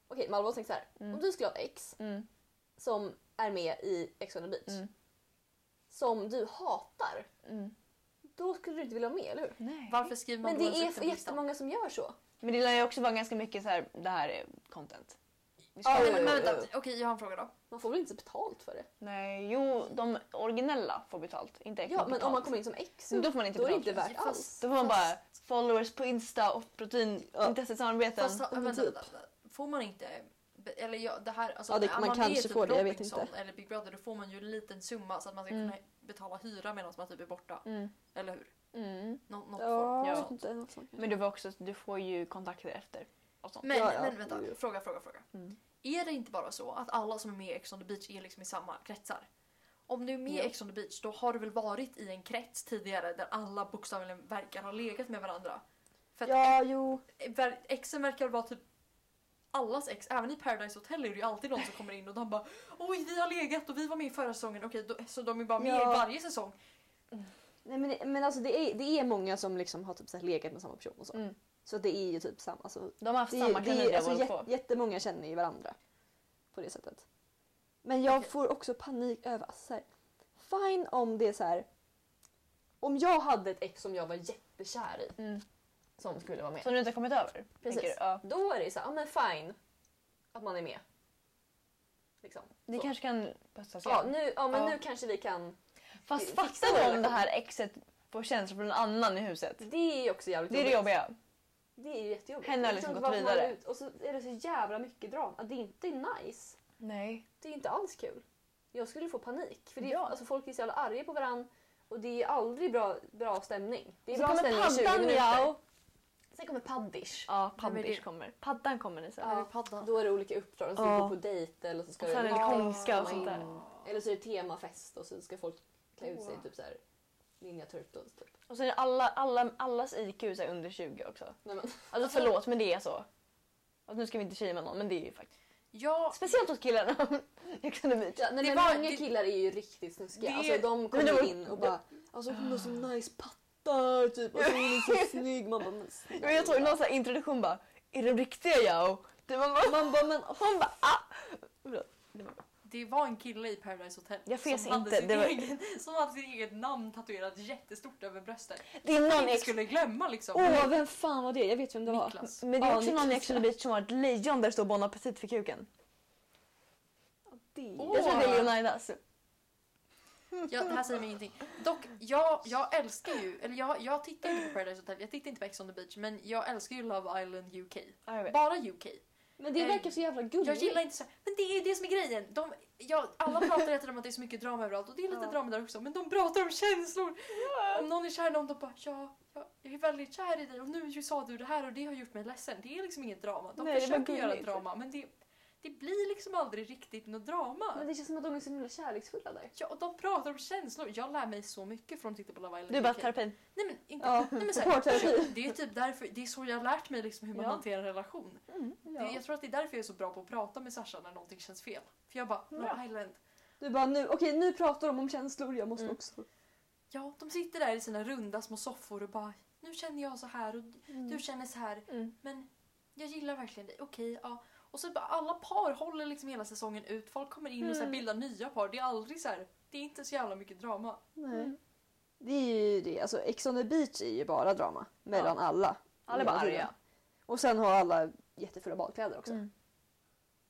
B: Okej Malva tänker så här, om du skulle ha ett ex
A: Mm.
B: som är med i Ex on the beach
A: Mm.
B: som du hatar,
A: Mm.
B: då skulle du inte vilja vara med, eller hur?
A: Nej.
C: Varför skriver man
B: Men det
C: då ens upp
B: är
C: den listan?
B: jättemånga som gör så.
A: Men det lär ju också vara ganska mycket så här, det här är content. Vi ska-
B: Ja,
C: Nej, men, men
B: Ö, ö, ö.
C: vänta, okej jag har en fråga då.
B: Man får väl inte betalt för det?
A: Nej, jo de originella får betalt. Inte äkta
B: Ja, men om man
A: betalt.
B: kommer in som ex så
A: Men Då får man inte
B: då är det
A: betalt.
B: inte värt
C: Fast-
B: alls.
A: Då får man bara
C: Fast-
A: followers på Insta och proteinintresset samarbeten.
C: Fast, ha-
B: men
C: vänta,
B: typ.
C: vänta, vänta. Får man inte... be- Eller ja, det här, alltså,
B: Ja, det-
C: när
B: man kanske får det, jag vet
C: Robinson
B: inte.
C: Eller Big Brother, då får man ju en liten summa så att man ska
A: Mm.
C: kunna betala hyra medan man typ är borta.
A: Mm.
C: Eller hur?
A: Mm.
C: Nå, något
B: Ja,
C: form
B: jag
C: av
A: Ja.
B: vet
C: sånt.
B: inte, något sånt.
A: Men du, får också, du får ju kontakter efter. Och sånt.
C: Men,
B: Ja, ja.
C: men vänta,
B: Jo, jo.
C: fråga, fråga, fråga.
A: Mm.
C: Är det inte bara så att alla som är med i Ex on the beach är liksom i samma kretsar? Om du är med i
B: Jo.
C: Ex on the beach då har du väl varit i en krets tidigare där alla bokstavligen verkar ha legat med varandra? För att
B: Ja, jo.
C: ver- exen verkar vara typ allas ex. Även i Paradise Hotel är det ju alltid någon som kommer in och de bara Oj vi har legat och vi var med i förra säsongen. Okej då, så de är bara med
B: Ja.
C: i varje säsong.
B: Nej, men men alltså, det, är, det är många som liksom har typ så här legat med samma person och så.
A: Mm.
B: Så det är ju typ samma. Alltså,
A: De har haft
B: det är,
A: samma
B: ju- det
A: klamydia
B: är, alltså,
A: båda
B: jät,
A: två.
B: jättemånga känner ju varandra på det sättet. Men jag
C: Okej.
B: får också panik över... Alltså, så här, fine om det är så här... Om jag hade ett ex som jag var jättekär i
A: Mm.
B: som skulle vara med.
A: Som du inte har kommit över?
B: Precis.
A: tänker du? Ja.
B: Då är det så här, ja men fine att man är med. Liksom.
A: Ni
B: så.
A: kanske kan pussas
B: Ja,
A: igen.
B: nu, ja men
A: Ja.
B: nu kanske vi kan...
A: Fast
B: vi-
A: fatta
B: fixar
A: då
B: det.
A: om det här exet får känslor från en annan i huset.
B: Det är ju också jävligt
A: Det är det jobbiga.
B: Det är ju jättejobbigt.
A: Henne har
B: Jag
A: liksom
B: förstår
A: gått
B: inte varför man
A: vidare.
B: går ut. Och så är det så jävla mycket drama. Det är inte nice.
A: Nej.
B: Det är inte alls kul. Jag skulle få panik. För det är,
A: Ja.
B: alltså, folk är så jävla arga på varandra och det är aldrig bra, bra stämning. Det är
A: Så
B: bra
A: kommer
B: stämning i 20
A: paddan
B: minuter.
A: miau.
B: Sen kommer paddish.
A: Ja,
C: men det-
A: paddish kommer. Paddan kommer ni sen.
B: Ja.
C: Eller paddan.
B: Då är det olika uppdrag. Så ska
A: Ja.
B: du gå på dejt eller så ska
A: Och sen
B: du...
A: är det konska och
B: Ja.
A: sånt där.
B: Eller så är det temafest och så ska folk klä ut sig
C: Åh.
B: typ såhär Ninja Turtles typ.
A: Och sen är alla, alla, allas IQ så här under 20 också.
B: Nej, men,
A: Alltså förlåt men det är så. Alltså, nu ska vi inte shamea någon men det är ju faktiskt.
C: Ja,
A: Speciellt hos killarna. Jag kunde bli
B: ja, nej,
C: Det
B: men
C: var-
B: många
C: det-
B: killar är ju riktigt snuskiga.
C: Det-
B: Alltså de
A: men det
B: kommer
A: var-
B: in och bara alltså hon har så nice patta typ och så är hon så snygg. Man bara men
A: Men jag såg någon sån här introduktion bara, är det riktiga jag? Det var bara,
B: Man bara men
A: hon bara, ah!
C: det var en kille i Paradise Hotel
A: Jag fes
C: som, hade
A: inte,
C: sitt
A: det var-
C: egen, som hade sitt eget namn tatuerat jättestort över bröstet.
A: Det är någon
C: Som
A: ex.
C: skulle glömma liksom.
B: åh vem fan var det? Jag vet vem det var.
C: Niklas.
A: Men det är
B: Ja,
A: också någon i
B: Niklas,
A: Ex on
B: ja.
A: the Beach som har ett lejon där det står Bon Appetit för kuken.
B: Det är-
C: Åh.
A: Jag tror att det är Leonidas.
C: Ja, det här säger mig ingenting. Dock, jag, jag älskar ju, eller jag, jag tittar inte på Paradise Hotel, jag tittar inte på Ex on the beach, men jag älskar ju Love Island UK.
A: Ja, jag vet.
C: Bara UK.
B: Men det verkar så jävla gulligt.
C: Jag
A: Mm.
C: gillar inte så här, men det är ju det som är grejen. De, ja, alla pratar hela tiden om att det är så mycket drama överallt och det är lite
A: Ja.
C: drama där också, men de pratar om känslor. Om någon är kär i någon, de bara ja, ja, jag är väldigt kär i dig och nu sa du det här och det har gjort mig ledsen. Det är liksom inget drama. De
A: Nej, det var
C: försöker göra
A: gulligt.
C: drama, men det, det blir liksom aldrig riktigt något drama.
A: Mm.
B: Men det känns som att de är så himla kärleksfulla där.
C: Ja, och de pratar om känslor. Jag lär mig så mycket från att titta på Love Island
A: Du är bara
C: UK.
A: terapin.
C: Nej men inte...
B: Ja,
C: nej, men så
B: supportterapi.
C: här, det är typ därför, det är så jag har lärt mig liksom hur man
A: Ja.
C: hanterar en relation. Det, jag tror att det är därför jag är så bra på att prata med Sasha när någonting känns fel. För jag bara, Love Island.
B: Du bara nu, okej nu pratar de om känslor, jag måste
A: Mm.
B: också.
C: Ja, de sitter där i sina runda små soffor och bara, nu känner jag så här och du känner så här.
A: Mm.
C: Men jag gillar verkligen dig, okej, ja. Och så bara alla par håller liksom hela säsongen ut, folk kommer in och så här
A: Mm.
C: bildar nya par. Det är aldrig så här, det är inte så jävla mycket drama.
B: Nej. Mm. Det är ju det, alltså Ex on the beach är ju bara drama mellan alla.
A: Alla är bara
B: Hela
A: arga.
B: tiden. Och sen har alla jättefulla badkläder också.
A: Mm.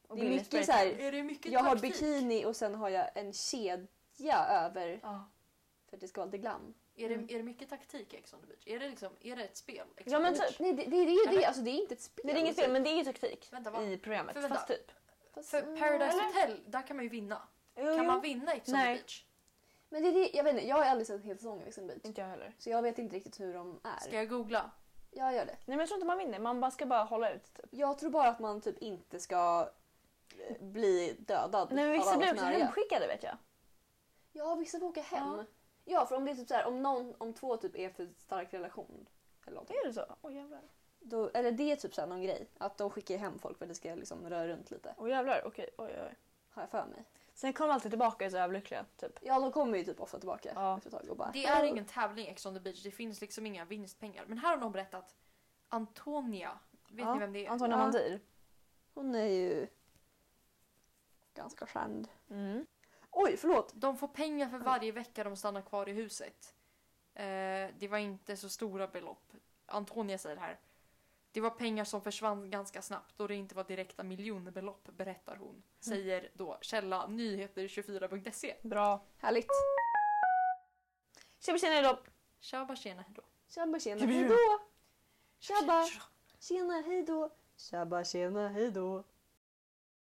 A: Och
B: Det är
A: billig
B: mycket
A: sprit.
B: så här,
C: Är det mycket
B: jag har
C: taktik?
B: bikini och sen har jag en kedja över
A: Ja.
B: för att det ska vara lite glam.
C: Är det, är det mycket taktik i Ex on the beach? Är det, liksom, är det ett spel? Ex
B: Mm. Ja
C: on
B: men
C: the Beach?
B: typ, nej, det, det, det är ju det, alltså det är inte ett spel. Nej, det är inget fel men det är ju taktik
C: Vänta, va?
B: i programmet.
C: För vänta.
B: Fast typ. Fast,
C: För
B: mm,
C: Paradise
B: eller?
C: Hotel, där kan man ju vinna.
B: Jo,
C: Kan
B: jo.
C: man vinna Ex on the
A: Nej.
C: beach?
B: Men det är det, jag vet inte, jag har aldrig sett en hel säsong av Ex on the Beach.
A: Inte jag heller.
B: Så jag vet inte riktigt hur de är.
C: Ska jag googla?
B: Jag gör det.
A: Nej men jag tror inte man vinner, man bara ska bara hålla ut. Typ.
B: Jag tror bara att man typ inte ska eh, bli dödad
A: Nej men vissa
B: alla
A: blir
B: som
A: också
B: är arga.
A: hemskickade vet jag.
B: Ja, vissa får åka hem.
A: Ja.
B: Ja. för om det är typ så här, om, någon, om två typ är för stark relation eller någonting,
A: Är det så? Åh jävlar.
B: då, eller det är typ så här någon grej. Att de skickar hem folk för att det ska liksom röra runt lite.
A: Åh jävlar, okej. Oj, oj, oj.
B: Har jag för mig.
A: Sen kommer alltid tillbaka så överlyckliga. Typ.
B: Ja, de kommer ju typ ofta tillbaka
A: Ja.
B: efter ett tag och bara
C: Det är
B: "Hallå."
C: ingen tävling Ex on the beach, det finns liksom inga vinstpengar. Men här har någon berättat Antonia. Vet
A: Ja,
C: ni vem det är?
A: Antonia
B: Ja.
A: Mandir.
B: Hon är ju ganska känd.
A: Mm.
B: Oj, förlåt!
C: De får pengar för varje vecka de stannar kvar i huset. Eh, det var inte så stora belopp. Antonia säger här. Det var pengar som försvann ganska snabbt och det inte var direkta miljonbelopp berättar
A: Mm.
C: hon. Säger då källa nyheter24.se.
A: Bra.
B: Härligt.
A: Tjena tjena hejdå!
C: Tjaba tjena hejdå.
B: Tjabba tjena,
A: Tjabba,
B: hejdå! Tjabba! Tjena, hejdå! Tjabba tjena, hejdå!